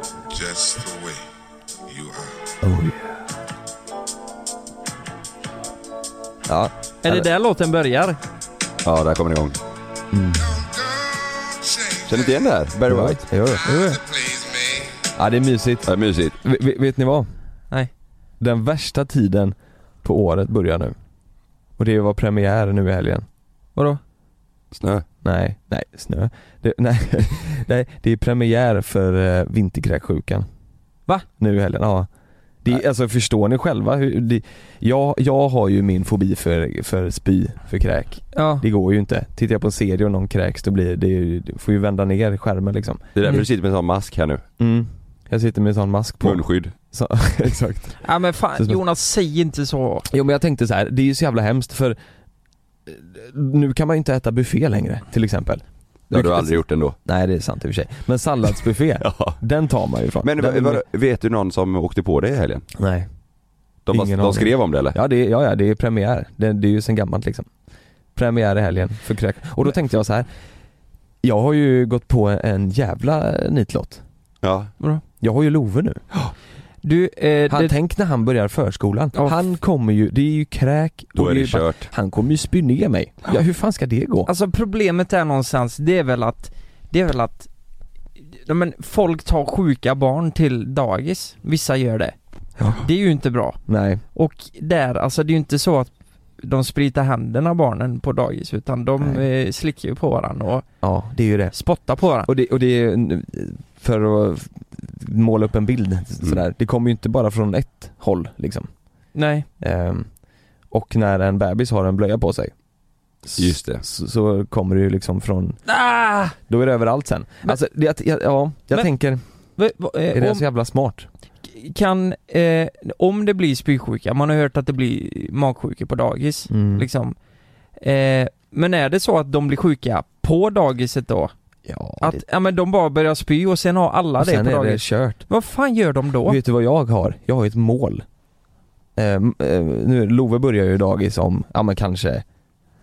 That's the way you are. Oh yeah. Ja, Är det där låten börjar? ja där kommer det igång. Don't change Känner du inte igen det här? Barry White? Jo, how jo. to please me. Ja, det är mysigt. Ja, mysigt. V- v- vet ni vad? Nej. Den värsta tiden på året börjar nu. Och det var premiär nu i helgen. Vadå? Snö. Nej, nej, snö. Det, nej, nej, det är premiär för eh, vinterkräksjukan. Va? Nu i helgen, ja. Det, alltså förstår ni själva hur, det, jag, jag har ju min fobi för, för spy, för kräk. Ja. Det går ju inte. Tittar jag på en serie och någon kräks då blir det, ju- du får ju vända ner skärmen liksom. Det är därför Mm. du sitter med en sån mask här nu. Mm. Jag sitter med en sån mask på. Munskydd. Så, exakt. ja men Så fan som- Jonas, säg inte så. Jo men jag tänkte så här, det är ju så jävla hemskt för eh, nu kan man ju inte äta buffé längre till exempel. Det har du aldrig gjort ändå. Nej det är sant i och för sig. Men salladsbuffé, Ja. den tar man ju ifrån. Men den, vad- vet du någon som åkte på det i helgen? Nej. De, bara, Ingen de aning. skrev om det eller? Ja det, är- ja, ja, det är premiär. Det, det är ju sen gammalt liksom. Premiär i helgen för kräk. Och då tänkte jag så här. jag har ju gått på en jävla nitlott. Ja. Jag har ju Love nu. Du, eh, Han, det, Tänk när han börjar förskolan. Ja. Han kommer ju, det är ju kräk Då och är det ju bara- kört. Han kommer ju spy ner mig. Ja hur fan ska det gå? alltså problemet är någonstans, det är väl att, det är väl att, ja, men folk tar sjuka barn till dagis. Vissa gör det. Ja. Det är ju inte bra. Nej. Och där, alltså det är ju inte så att de spritar händerna barnen på dagis utan de eh, slickar ju på varandra och Ja det är ju det. spottar på varandra. Och det, och det är ju- för att måla upp en bild sådär, det kommer ju inte bara från ett håll liksom. Nej. Ehm, och när en bebis har en blöja på sig s- Just det. Så, så kommer det ju liksom från, Ah! då är det överallt sen. Men- alltså, det, att- ja, ja, jag Men- tänker, Va- va- eh, är det alltså- om- så jävla smart? kan, eh, om det blir spysjuka, man har hört att det blir magsjuka på dagis, Mm. liksom. Eh, men är det så att de blir sjuka på dagiset då? Ja, Att, ja men de bara börjar spy och sen har alla och det sen på är det dagis. kört. Vad fan gör de då? Vet du vad jag har? Jag har ju ett mål. Ehm, eh, nu, Love börjar ju dagis om, ja men kanske,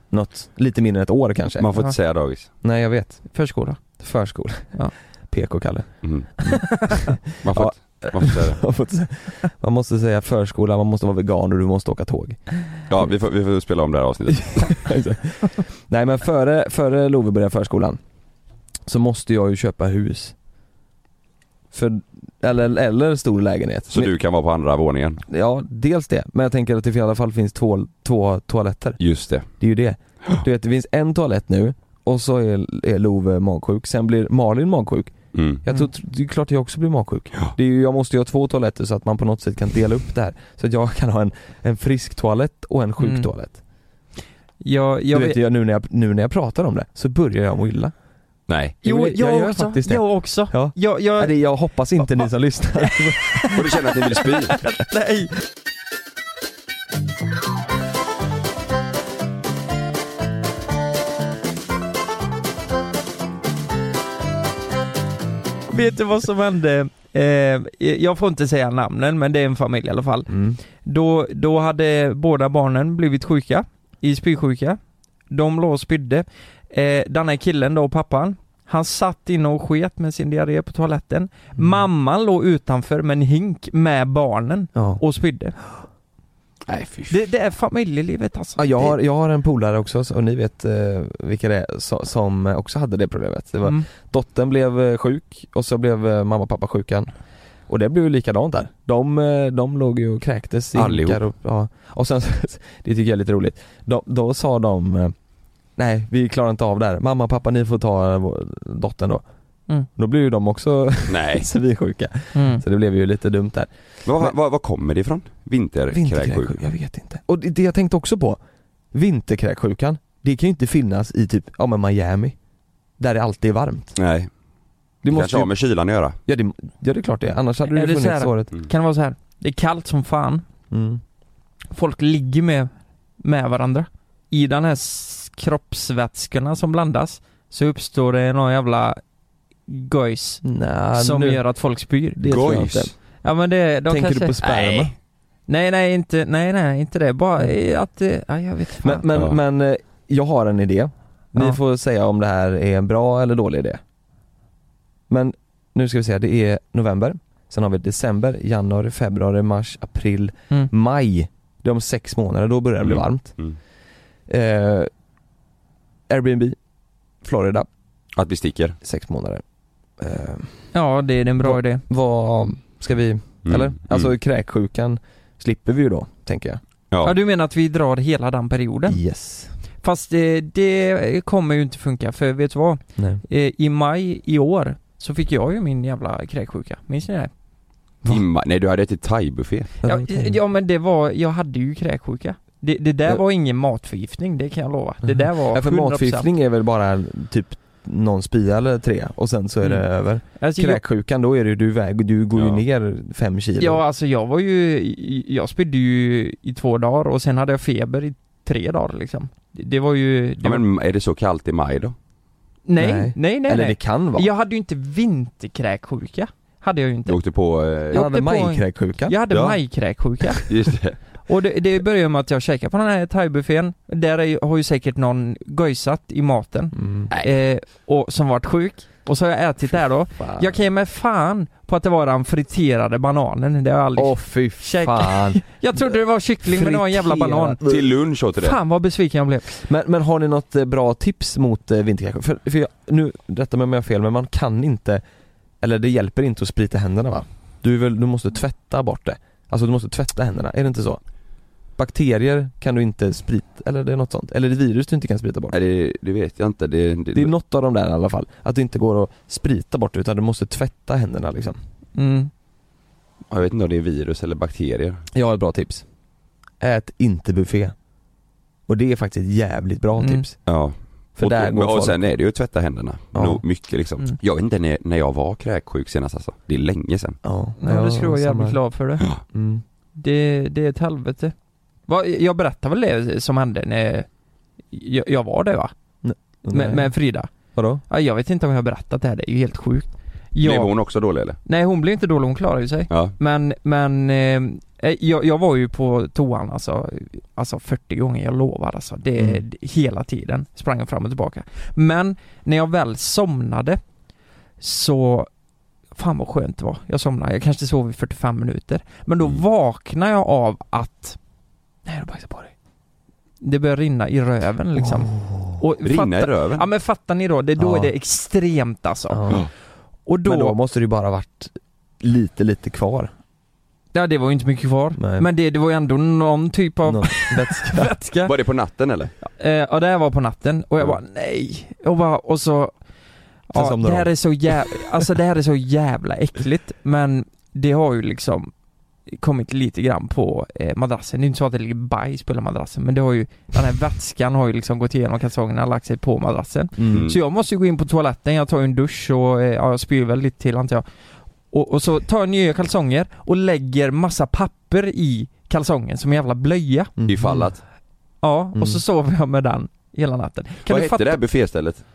något, lite mindre än ett år kanske. Man får Ja. inte säga dagis. Nej jag vet. Förskola. Förskola. Ja. PK-Kalle. Mm. Man får Ja. inte man får inte säga det. Man får inte säga- man måste säga förskola, man måste vara vegan och du måste åka tåg. Alltså. Ja, vi får, vi får spela om det här avsnittet. Nej men före, före Love börjar förskolan så måste jag ju köpa hus. För, eller, eller stor lägenhet. Så Men- du kan vara på andra våningen. Ja, dels det. Men jag tänker att det i alla fall finns två, två toaletter. Just det. Det är ju det. Du vet, det finns en toalett nu och så är, är Love magsjuk. Sen blir Malin magsjuk. Mm. Jag tror, det är klart jag också blir magsjuk. Ja. Det är ju, jag måste ju ha två toaletter så att man på något sätt kan dela upp det här. Så att jag kan ha en, en frisk toalett och en sjuk Mm. toalett. Jag, Du jag vet, jag, nu, när jag, nu när jag pratar om det så börjar jag må illa. Nej. Jo, Jo, jag, jag gör också. faktiskt det. Jag också. Ja. Jag, jag, Nej, det- Jag hoppas inte ni som lyssnar. Och du känner att ni vill spy? nej. Vet du vad som hände? Eh, jag får inte säga namnen men det är en familj i alla fall. Mm. Då, då hade båda barnen blivit sjuka, i spysjuka. De låg och spydde. Eh, den här killen då, pappan, han satt inne och sket med sin diarré på toaletten. Mm. Mamman låg utanför med en hink med barnen Ja. och spydde. Nej fy Det, det är familjelivet alltså. Ja, jag, har, Det- jag har en polare också, och ni vet eh, vilka det är, so- som också hade det problemet. Det var, Mm. Dottern blev eh, sjuk och så blev eh, mamma och pappa sjukan. Och det blev ju likadant där. De, eh, de låg ju och kräktes i Allihop. hinkar Och, ja. och sen, det tycker jag är lite roligt. Då, då sa de eh, Nej vi klarar inte av det här. Mamma och pappa ni får ta eh, vår- dottern då. Mm. Då blev ju de också Nej. svinsjuka. Mm. Så det blev ju lite dumt där. Vad var, var, var kommer det ifrån? Vinterkräksjuk? Vinterkräksjuka, jag vet inte. Och det, det jag tänkte också på, vinterkräksjukan, det kan ju inte finnas i typ, ja men Miami. Där det alltid är varmt. Nej. Du Det kanske måste ju, har med kylan att göra. Mm. ja, det, ja det är klart det, annars hade Är du det ju så här? funnits året. Kan det vara så här? Det är kallt som fan. Mm. Folk ligger med, med varandra. I den här s- kroppsvätskorna som blandas så uppstår det någon jävla gojs Nej, som nu, gör att folk spyr. det tror jag inte. Gojs? Ja men det, de Tänker kanske... du på sperma? Nej. Nej nej inte, nej nej inte det. Bara eh, att det, ja, jag vet fan. Men, men, Ja. men eh, jag har en idé. Ni Ja. får säga om det här är en bra eller dålig idé. Men nu ska vi se, det är november. Sen har vi december, januari, februari, mars, april, Mm. maj. Det är om sex månader, då börjar det bli Mm. varmt. Mm. Eh, Airbnb, Florida, Att vi sticker. sex månader. Eh, Ja, det är en bra idé. vad ska vi, Mm. eller? Mm. Alltså kräksjukan slipper vi ju då, tänker jag. Ja. ja. du menar att vi drar hela den perioden? Yes. Fast det, det kommer ju inte funka, för vet du vad? Nej. Eh, I maj i år så fick jag ju min jävla kräksjuka, minns ni det? Timma, nej du hade ätit thaibuffé. Ja, ja men det var, jag hade ju kräksjuka. Det, det där Ja. var ingen matförgiftning, det kan jag lova. Det Mhm. där var Ja, för 100%. matförgiftning är väl bara typ någon spia eller tre och sen så är det Mm. över. Alltså, jag, Kräksjukan då är det ju du väg, du går ju Ja. ner fem kilo. ja alltså jag var ju, jag spydde ju i två dagar och sen hade jag feber i tre dagar liksom. Det, det var ju... Det Ja, var, men är det så kallt i maj då? nej, nej, Nej. nej, nej. eller det kan vara. Jag hade ju inte vinterkräksjuka. Hade jag ju inte. Du åkte på, eh, Jag Ja. hade åkte på en- majkräksjuka. Jag hade Ja. majkräksjuka. just det. Och det, det började med att jag käkade på den här thaibuffén. Där är, ju- har ju säkert någon gojsat i maten. Mm. Eh, och som varit sjuk. Och så har jag ätit där då. Fan. Jag kan ge mig fan på att det var den friterade bananen. Det har jag aldrig... Åh fy Käka- fan. jag trodde det var kyckling men det var en jävla Friterad. banan. Till lunch åt du det. Fan vad besviken jag blev. Men, men har ni något eh, bra tips mot eh, vinterkräksjuka? För, för jag, nu, rätta mig om jag har fel, men man kan inte, eller det hjälper inte att sprita händerna va? Du, är väl, du måste tvätta bort det. Alltså du måste tvätta händerna, är det inte så? Bakterier kan du inte sprita, eller det är något sånt. Eller det är virus du inte kan sprita bort. Nej, det, det vet jag inte. Det, det, Det är något av de där i alla fall. Att det inte går att sprita bort det, utan du måste tvätta händerna liksom. Mm. jag vet inte om det är virus eller bakterier. Jag har ett bra tips. Ät inte buffé. Och det är faktiskt ett jävligt bra Mm. tips. Ja. För och, där går och, folk. och sen är det ju att tvätta händerna. Ja. Nog mycket liksom. Mm. Jag vet inte när, när jag var kräksjuk senast alltså. Det är länge sedan. Ja, Ja, det skulle jag vara samma. jävligt glad för det. Mm. Det, det är ett helvete. Va, jag berättade väl det som hände när jag, jag var det va? Med, med Frida. Vadå? Ja, Jag vet inte om jag har berättat det här, det är ju helt sjukt. Jag, Blev hon också dålig eller? Nej hon blev inte dålig, hon klarade ju sig. Ja. Men, men eh, jag, jag var ju på toan alltså, alltså 40 gånger, jag lovar alltså. Det, Mm. det- Hela tiden sprang jag fram och tillbaka. Men när jag väl somnade så Fan vad skönt det var. Jag somnade, jag kanske sov i 45 minuter. Men då Mm. vaknade jag av att Nej, jag bajsade på dig. Det började rinna i röven liksom. Och Rinna i fatta- röven? Ja men fattar ni då? Det, då Ja. är det extremt alltså. Ja. Och då, Men då måste det ju bara varit lite, lite kvar. ja det var ju inte mycket kvar. Nej. Men det, det var ju ändå någon typ av Någon vätska. vätska. Var det på natten eller? Eh, ja det här var på natten och jag Ja. bara nej. Och, bara, och så... Sen Ja, somnade det här de. är så jävla, alltså det här är så jävla äckligt men det har ju liksom kommit lite grann på eh, madrassen. Det är inte så att det ligger bajs på hela madrassen men det har ju, den här vätskan har ju liksom gått igenom kalsongerna och lagt sig på madrassen. Mm. Så jag måste ju gå in på toaletten, jag tar ju en dusch och eh, ja, jag spyr väl lite till antar jag. Och, och så tar jag nya kalsonger och lägger massa papper i kalsongen som en jävla blöja. Mm. Ifall att. Ja, Mm. och så sover jag med den hela natten. Kan Vad du hette fatta? det här bufféstället?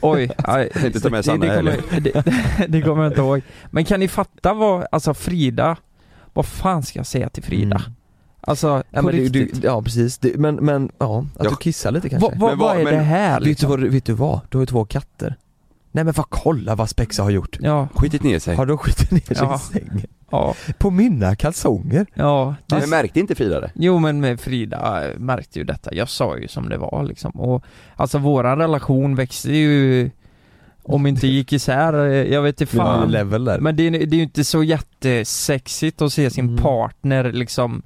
Oj, aj, Jag tänkte ta med det, Sanna det, kommer, det, det kommer jag inte ihåg. Men kan ni fatta vad, alltså Frida, vad fan ska jag säga till Frida? Mm. Alltså, Ja, på men du, du, riktigt. ja precis, det, men, men ja, att Ja. du kissar lite kanske. vad, vad, Men vad- vad är men- det här vet, du liksom? vad, du- vet du vad? Du har ju två katter. Nej men vad kolla vad Spexa har gjort. Ja, Skitit ner sig. Har de skitit ner sig Ja. i sängen? ja, På mina kalsonger? ja. det- Men märkte inte Frida det? Jo men med Frida eh, märkte ju detta, jag sa ju som det var liksom och Alltså våran relation växte ju Om inte gick isär, eh, jag vet inte Det är fan ju level där. Men det är, det är ju inte så jättesexigt att se sin Mm. partner liksom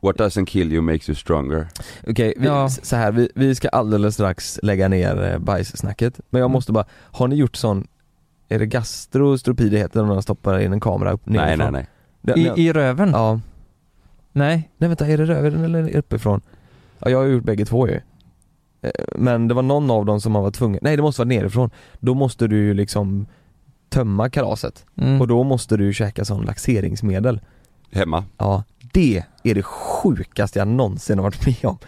What doesn't kill you makes you stronger. Okej, vi, Ja. s- så här, vi, vi ska alldeles strax lägga ner eh, bajssnacket. Men Mm. jag måste bara, har ni gjort sån, är det gastrostropi det heter när man stoppar in en kamera upp Nej, nerifrån? nej, nej. Det- i, nej. i röven? Ja, Nej? nej vänta, är det röven eller uppifrån? Ja, jag har gjort bägge två ju. Eh, Men det var någon av dem som man var tvungen, nej det måste vara nerifrån. Då måste du ju liksom tömma kalaset Mm. och då måste du ju käka sån laxeringsmedel. Hemma. Ja, det är det sjukaste jag någonsin har varit med om.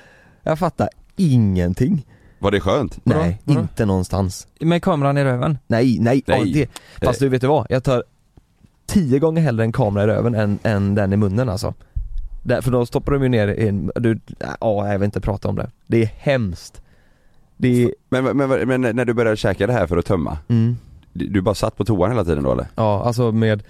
Jag fattar ingenting. Var det skönt? Vadå? Nej, Vadå? inte någonstans. Med kameran i röven? Nej, nej, Nej. Ja, det. Fast du vet du vad? Jag tar tio gånger hellre en kamera i röven än, än den i munnen alltså. Där, för då stoppar de ju ner i en, du, ja jag vill inte prata om det. Det är hemskt. Det är, Men, men, men, men när du började käka det här för att tömma, mm, du du bara satt på toan hela tiden då eller? ja alltså med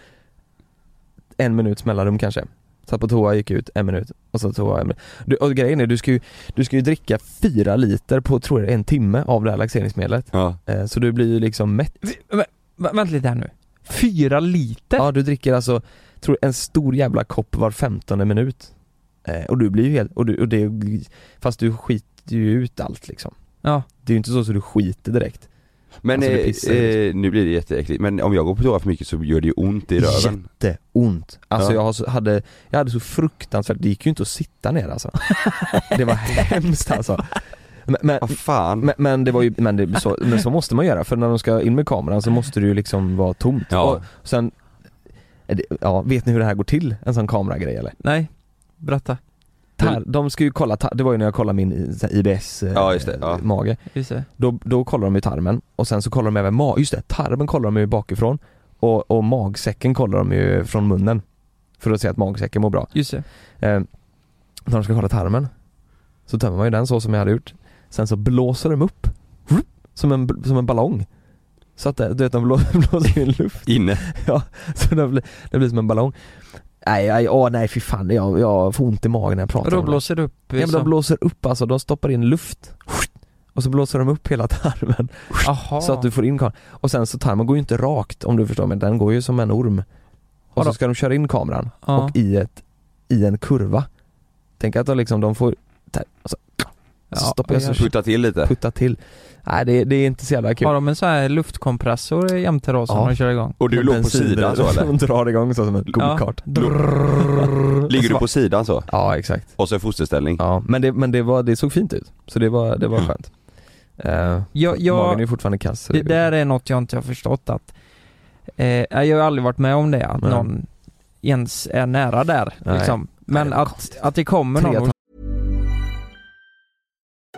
en minuts mellanrum kanske. Satt på toa, gick ut en minut och så toa en minut. Du, och grejen är du ska ju, du ska ju dricka fyra liter på tror jag en timme av det här laxeringsmedlet. Ja. Eh, så du blir ju liksom mätt. Vi- vä- vä- Vänta lite här nu. Fyra liter? Ja du dricker alltså, tror jag, en stor jävla kopp var femtonde minut. Eh, och du blir ju helt, och, du, och det, fast du skiter ju ut allt liksom. Ja. Det är ju inte så att du skiter direkt. Men Alltså, det eh, pissar eh, nu blir det jätteäckligt, men om jag går på toa för mycket så gör det ju ont i röven Jätteont. Alltså Ja. jag, har så, hade, jag hade så fruktansvärt, det gick ju inte att sitta ner alltså. Det var hemskt alltså. Men, men, Vad fan men, men det var ju, men, det, så, men så måste man göra för när de ska in med kameran så måste det ju liksom vara tomt. Ja, Och sen, är det- ja, vet ni hur det här går till? En sån kameragrej eller? Nej. Berätta. Tar, de ska ju kolla, tar, det var ju när jag kollade min i- så här IBS eh, Ja, just det, ja. mage. Just det. Då, då kollar de ju tarmen och sen så kollar de även ma just det, tarmen kollar de ju bakifrån och, och magsäcken kollar de ju från munnen. För att se att magsäcken mår bra. Just det. Eh, när de ska kolla tarmen så tömmer man ju den så som jag hade gjort. Sen så blåser de upp Vroom! som en, som en ballong. Så att det- du vet de blå- blåser ju in luft inne så det blir, det blir som en ballong. Nej, nej, åh, nej fy fan, jag, jag får ont i magen när jag pratar Och då om det. blåser det upp eh, Ja men de som- blåser upp alltså, de stoppar in luft och så blåser de upp hela tarmen Ah. Aha. så att du får in kameran. Och sen så tarmen går ju inte rakt om du förstår mig, den går ju som en orm. Ja, Och då- så ska de köra in kameran Ah. Ja. och i, ett, i en kurva. Tänk att de liksom, de får ta- alltså, Ja, stoppar jag så- jävlar. Putta till lite putta till. Nej det, det är inte så jävla Ah, kul. Har de en sån här luftkompressor jämte då som Ja. de kör igång? Och du En låg på bensin- sidan så eller? De drar igång så som en Ja. go-kart. Ligger Alltså, du på sidan så? Ja exakt. Och så fosterställning? Ja, men det, men det, var, det såg fint ut. Så det var, det var Ja. skönt. Eh, Jag, Magen är jag, ju fortfarande kass. så det är där är något jag inte har förstått att eh, Jag har aldrig varit med om det, att Nej. någon ens är nära där Nej. liksom. Men Nej, det är att, att det kommer Tre någon och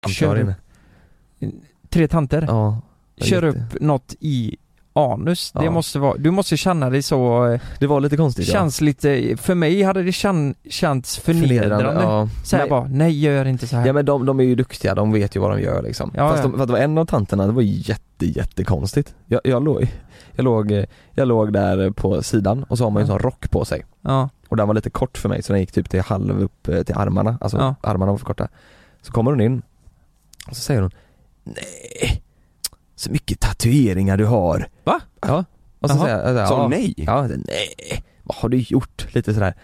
de kör kör upp. in. tre tanter Ja. det var kör jätte- upp något i anus. Det Ja. måste vara, du måste känna dig så, eh, Det var lite konstigt känns lite, för mig hade det känn, känts ja. förnedrande. Ja. Så här Men- bara, nej gör inte så här. ja men de, de är ju duktiga, de vet ju vad de gör liksom. Ja, fast, ja. De, fast det var en av tanterna, det var ju jätte, jättekonstigt. Jag, jag, låg, jag, låg, eh, jag låg där på sidan och så har man ju en sån rock på sig. ja. Och den var lite kort för mig så den gick typ till halv upp eh, till armarna, alltså Ja. armarna var för korta. Så kommer hon in och så säger hon Nej, så mycket tatueringar du har. Va? Ja. Och så Jaha. säger jag, Sa jag säger, ja, hon nej? Ja, jag säger, nej, vad har du gjort? Lite sådär.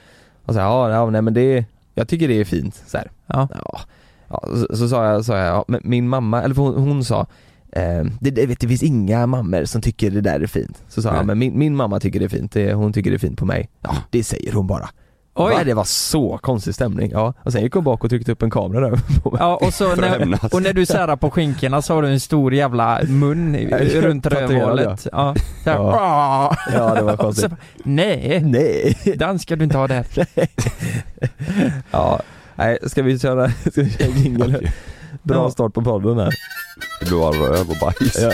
Och så här, ja, ja, nej men det, jag tycker det är fint så här. Ja. Ja. ja så, så sa jag, sa jag ja, men min mamma, eller för hon, hon sa eh, det, det, vet, du, det finns inga mammor som tycker det där är fint. Så sa jag, Nej. ja, men min, min mamma tycker det är fint, det, hon tycker det är fint på mig. Ja, det säger hon bara. Oj. Va, det var så konstig stämning. Ja, och sen gick hon bak och tryckte upp en kamera där på mig. Ja och så För att när, hämnas. och när du särar på skinkorna så har du en stor jävla mun i- Jag är runt tatuerad, rövhålet. Ja. Så här, Ja. "Ah." Ja, det var Och så konstigt. bara, Nej, Nej. den ska du inte ha där. Ja, nej, ska vi köra, ska vi köra jingle? Bra Ja. start på podden här. Det blir bara röv och bajs Ja.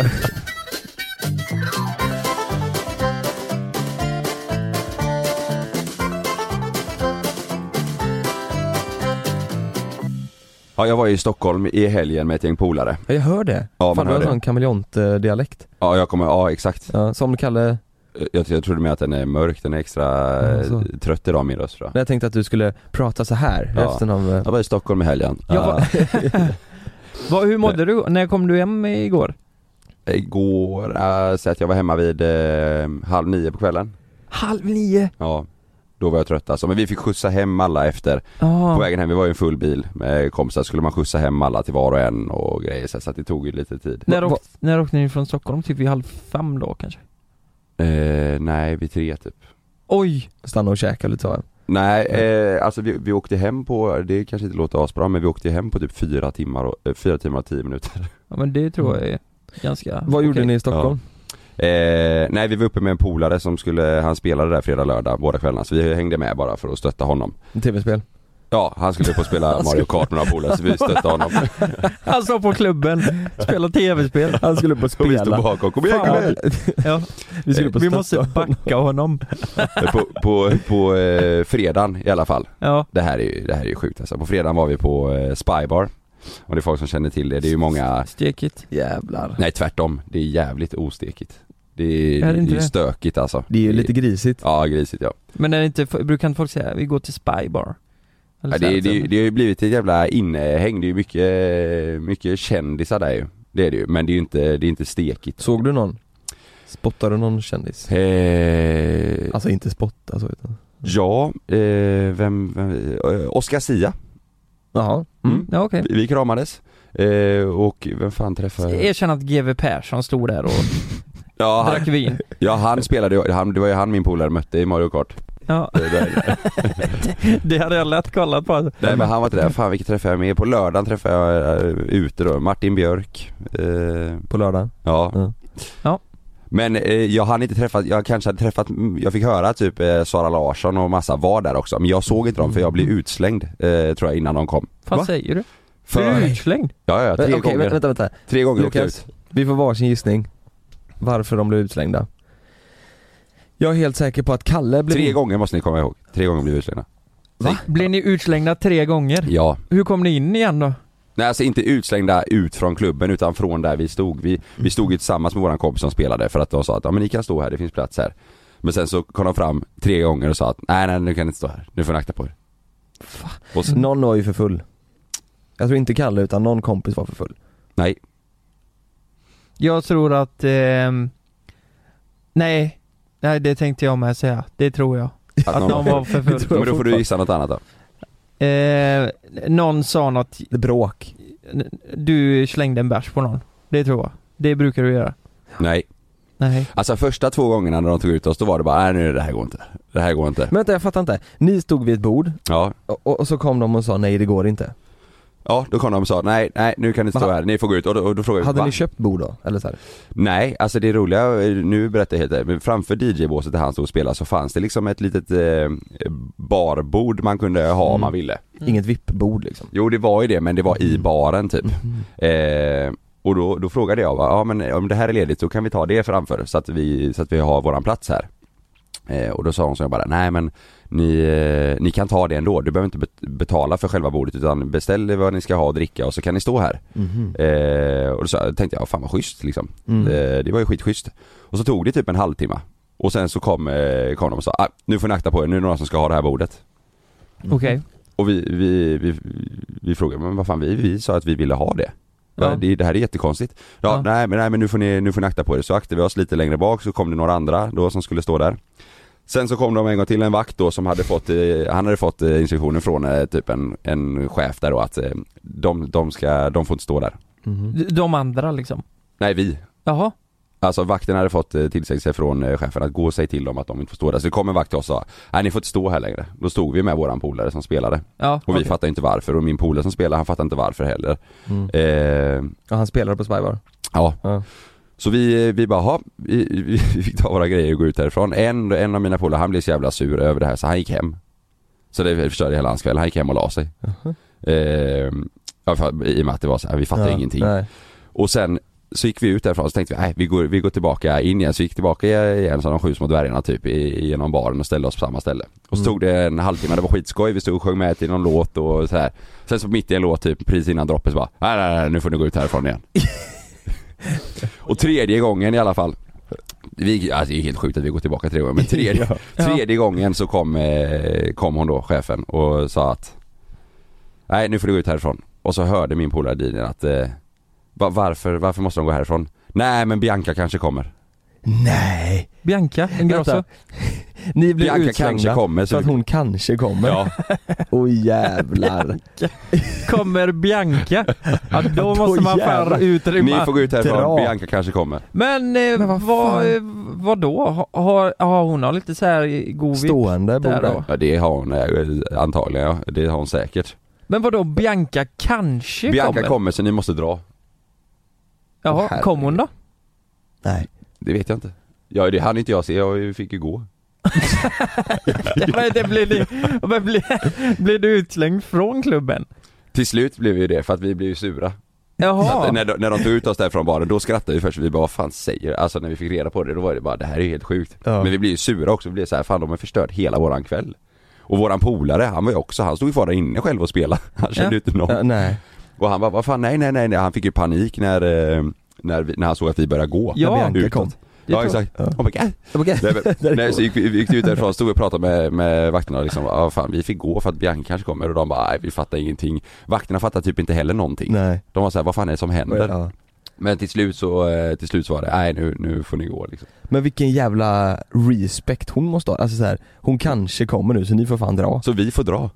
Ja jag var i Stockholm i helgen med ett gäng polare Ja, jag hör det. Ja, man Fan, du hör har en det. sån kameleont-dialekt. Ja jag kommer, ja exakt Ja, som Kalle, Jag, jag trodde med att den är mörk, den är extra eh, Ja, så. trött idag min röst tror jag när jag tänkte att du skulle prata så här Ja. efter någon... eh, Jag var i Stockholm i helgen Jag var- Eh, Vad, hur mådde du? När kom du hem igår? Igår, äh, så att jag var hemma vid eh, halv nio på kvällen Halv nio. Ja Då var jag trött alltså, men vi fick skjutsa hem alla efter På Ja. vägen hem, vi var ju en full bil med kompisar, skulle man skjutsa hem alla till var och en och grejer så, så att det tog ju lite tid När, Va- åkte, när åkte ni från Stockholm? Typ vid halv fem då kanske? eh, Nej, vid tre typ Oj! Stanna och käka lite så. Nej, eh, alltså vi, vi åkte hem på, det kanske inte låter asbra men vi åkte hem på typ fyra timmar och, eh, fyra timmar och tio minuter Ja men det tror jag är ganska Mm. Vad gjorde okej. ni i Stockholm? Eh, nej vi var uppe med en polare som skulle, han spelade där fredag, lördag båda kvällarna så vi hängde med bara för att stötta honom Tv-spel. Ja, han skulle upp och spela Mario Kart med några polare så vi stöttade honom Han står Alltså, på klubben, spelar tv-spel. Han skulle upp och och vi stod bakom, kom igen, kom igen! Ja. Vi skulle på Vi måste stötta honom. backa honom. På, på, på eh, fredagen i alla fall Ja. Det här är ju, det här är ju sjukt alltså. På fredagen var vi på eh, Spybar Om det är folk som känner till det, det är ju många Stekigt. Jävlar. Nej tvärtom, det är jävligt ostekigt Det är, Är det det inte är ju det? stökigt alltså Det är ju lite grisigt. Ja, grisigt ja. Men är det inte, brukar inte folk säga vi går till spybar? Eller ja så det, här, liksom. det, det har ju blivit ett jävla innehäng, det är ju mycket, mycket kändisar där ju Det är det ju, men det är ju inte, det är inte stekigt Såg du någon? Spottade du någon kändis? eh, Alltså inte spotta så utan... Ja, eh, vem, vem eh, Oscar Sia Jaha. mm. Ja okej. Vi kramades eh, och vem fan träffade Erkänn att GW Persson stod där och ja han, drack vin. ja han spelade ju, han, det var ju han min polare mötte i Mario Kart Ja, Eh, där. det hade jag lätt kollat på. Nej men han var inte där, fan vilka träffade jag med? På lördagen träffade jag eh, ute då, Martin Björk eh, På lördag? Ja. Ja. Ja. Men eh, jag hann inte träffat, jag kanske hade träffat, mm, jag fick höra typ eh, Sara Larsson och massa var där också men jag såg inte dem för jag blev Mm. utslängd eh, tror jag innan de kom. Vad Va? säger du? För, Är du utslängd? ja, ja, tre Eh, Okej, gånger. vänta, vänta. Tre gånger åkte jag Lukas, ut. vi får varsin gissning Varför de blev utslängda Jag är helt säker på att Kalle blev Tre gånger måste ni komma ihåg. Tre gånger blev vi utslängda. Va? Blev ni utslängda tre gånger? Ja. Hur kom ni in igen då? Nej alltså inte utslängda ut från klubben utan från där vi stod. Vi, vi stod ju tillsammans med våran kompis som spelade för att de sa att ja men ni kan stå här, det finns plats här. Men sen så kom de fram tre gånger och sa att nej nej nu kan ni inte stå här, nu får ni akta på er. Och så, Någon var ju för full Jag tror inte Kalle utan någon kompis var för full nej, Jag tror att... ehm, nej. Nej det tänkte jag med säga. Det tror jag. Att någon var för Det full. Men tror då får du fortfarande. gissa något annat då. Eh, någon sa något, Det är bråk du slängde en bärs på någon. Det tror jag. Det brukar du göra. Nej. Nej. Alltså första två gångerna när de tog ut oss, då var det bara nej nu det här går inte. Det här går inte. Men vänta jag fattar inte, ni stod vid ett bord Ja. och, och så kom de och sa nej det går inte Ja, då kom de och sa nej, nej nu kan ni stå Men- här, ni får gå ut. Och då, och då frågade vi Hade "Va?" ni köpt bord då? Eller så här? Nej, alltså det roliga, nu berättar jag helt ärligt, men framför DJ-båset där han stod och spelade så fanns det liksom ett litet eh, barbord man kunde ha om Mm. man ville. Inget vippbord liksom Jo det var ju det, men det var Mm. i baren typ. Eh, och då, då frågade jag, va, ja men om det här är ledigt så kan vi ta det framför så att vi, så att vi har våran plats här. Eh, och då sa hon så jag bara, nej men ni, eh, ni kan ta det ändå, du behöver inte bet- betala för själva bordet utan beställ vad ni ska ha och dricka och så kan ni stå här. Mhm. Eh, och då sa, tänkte jag, fan vad schysst liksom. Mm. Eh, det var ju skitschysst. Och så tog det typ en halvtimme. Och sen så kom, eh, kom de och sa, ah, nu får ni akta på er, nu är det några som ska ha det här bordet. Mm. Okej. Och vi, vi, vi, vi frågade, men vad fan vi, vi sa att vi ville ha det. Ja. Ja. Det, det här är jättekonstigt. Ja, Ja. Nej, men, nej men nu får ni, nu får ni akta på er. Så aktade vi oss lite längre bak så kom det några andra då som skulle stå där. Sen så kom de en gång till en vakt då som hade fått, eh, han hade fått eh, instruktioner från eh, typ en, en chef där då att eh, de, de ska, de får inte stå där. Mhm. D- De andra liksom. Nej vi. Jaha. Alltså vakten hade fått eh, tillsägelse från eh, chefen att gå och säga till dem att de inte får stå där. Så det kom en vakt till oss och sa, nej ni får inte stå här längre. Då stod vi med våran polare som spelade. Ja. Och okej. vi fattar inte varför och min polare som spelar han fattar inte varför heller. Mm. Eh, Ja han spelade på Spybar ja. Ja. Så vi, vi bara, ha, vi, vi vi fick ta våra grejer och gå ut härifrån. En, en av mina polare han blev så jävla sur över det här så han gick hem. Så det förstörde hela hans kväll, han gick hem och la sig. Eh, ja, för, I och med att det var så här, vi fattade Ja, ingenting. Nej. Och sen så gick vi ut därifrån och så tänkte vi, nej vi går, vi går tillbaka in igen. Så vi gick tillbaka igen som de sju små dvärgarna typ i, genom baren och ställde oss på samma ställe. Och så Mm. tog det en halvtimme, det var skitskoj, vi stod och sjöng med till någon låt och så här. Sen så mitt i en låt typ, precis innan droppet så bara, nej nej nej nu får ni gå ut härifrån igen. och tredje gången i alla fall. Vi, alltså det är helt sjukt att vi går tillbaka tre gånger men tredje, tredje gången så kom, eh, kom hon då, chefen och sa att Nej nu får du gå ut härifrån. Och så hörde min polare Dinian att eh, va- varför, varför måste de gå härifrån? Nej men Bianca kanske kommer. Nej! Bianca Ingrosso. Vänta. Ni blev Bianca kanske utslängda kommer. Så för att hon kanske kommer Ja, Oj jävlar Kommer Bianca? Ja, då måste man jävlar. fan ni utrymma. får gå ut härifrån, Dra. Bianca kanske kommer. Men, eh, Men vad vad, vad, eh, vadå? Har, har, har hon har lite så här god vibb Stående där bord då? där. Ja det har hon eh, antagligen ja, det har hon säkert. Men vadå Bianca kanske Bianca kommer? kommer. så ni måste dra. Jaha, Åh, kom hon då? Nej Det vet jag inte. Ja, det hann inte jag se, jag fick ju gå. Men det blir, du, men blir, blir du utslängd från klubben? Till slut blev vi ju det, för att vi blev ju sura. Så att när, de- när de tog ut oss där från baren, då skrattade vi först, vi bara vad fan säger Alltså när vi fick reda på det, då var det bara det här är ju helt sjukt. Ja. Men vi blev ju sura också, vi blev så här, fan de har förstört hela våran kväll. Och våran polare, han var ju också, han stod ju kvar där inne själv och spelade. Han kände Ja. ju inte någon. Ja, nej. Och han bara, vad fan nej nej nej, nej. han fick ju panik när, eh, när, vi, när han såg att vi började gå. Ja, Bianca utåt. kom. Ja exakt. Ja. Oh my god. Nej, men, nej, så gick, vi- vi gick ut därifrån, stod och pratade med, med vakterna liksom, ah, fan vi fick gå för att Bianca kanske kommer och de bara, nej vi fattar ingenting. Vakterna fattar typ inte heller någonting. Nej. De var såhär, vad fan är det som händer? Ja. Men till slut så, eh, till slut så var det, nej nu, nu får ni gå liksom. Men vilken jävla respekt hon måste ha, alltså så här, hon kanske kommer nu så ni får fan dra. Så vi får dra.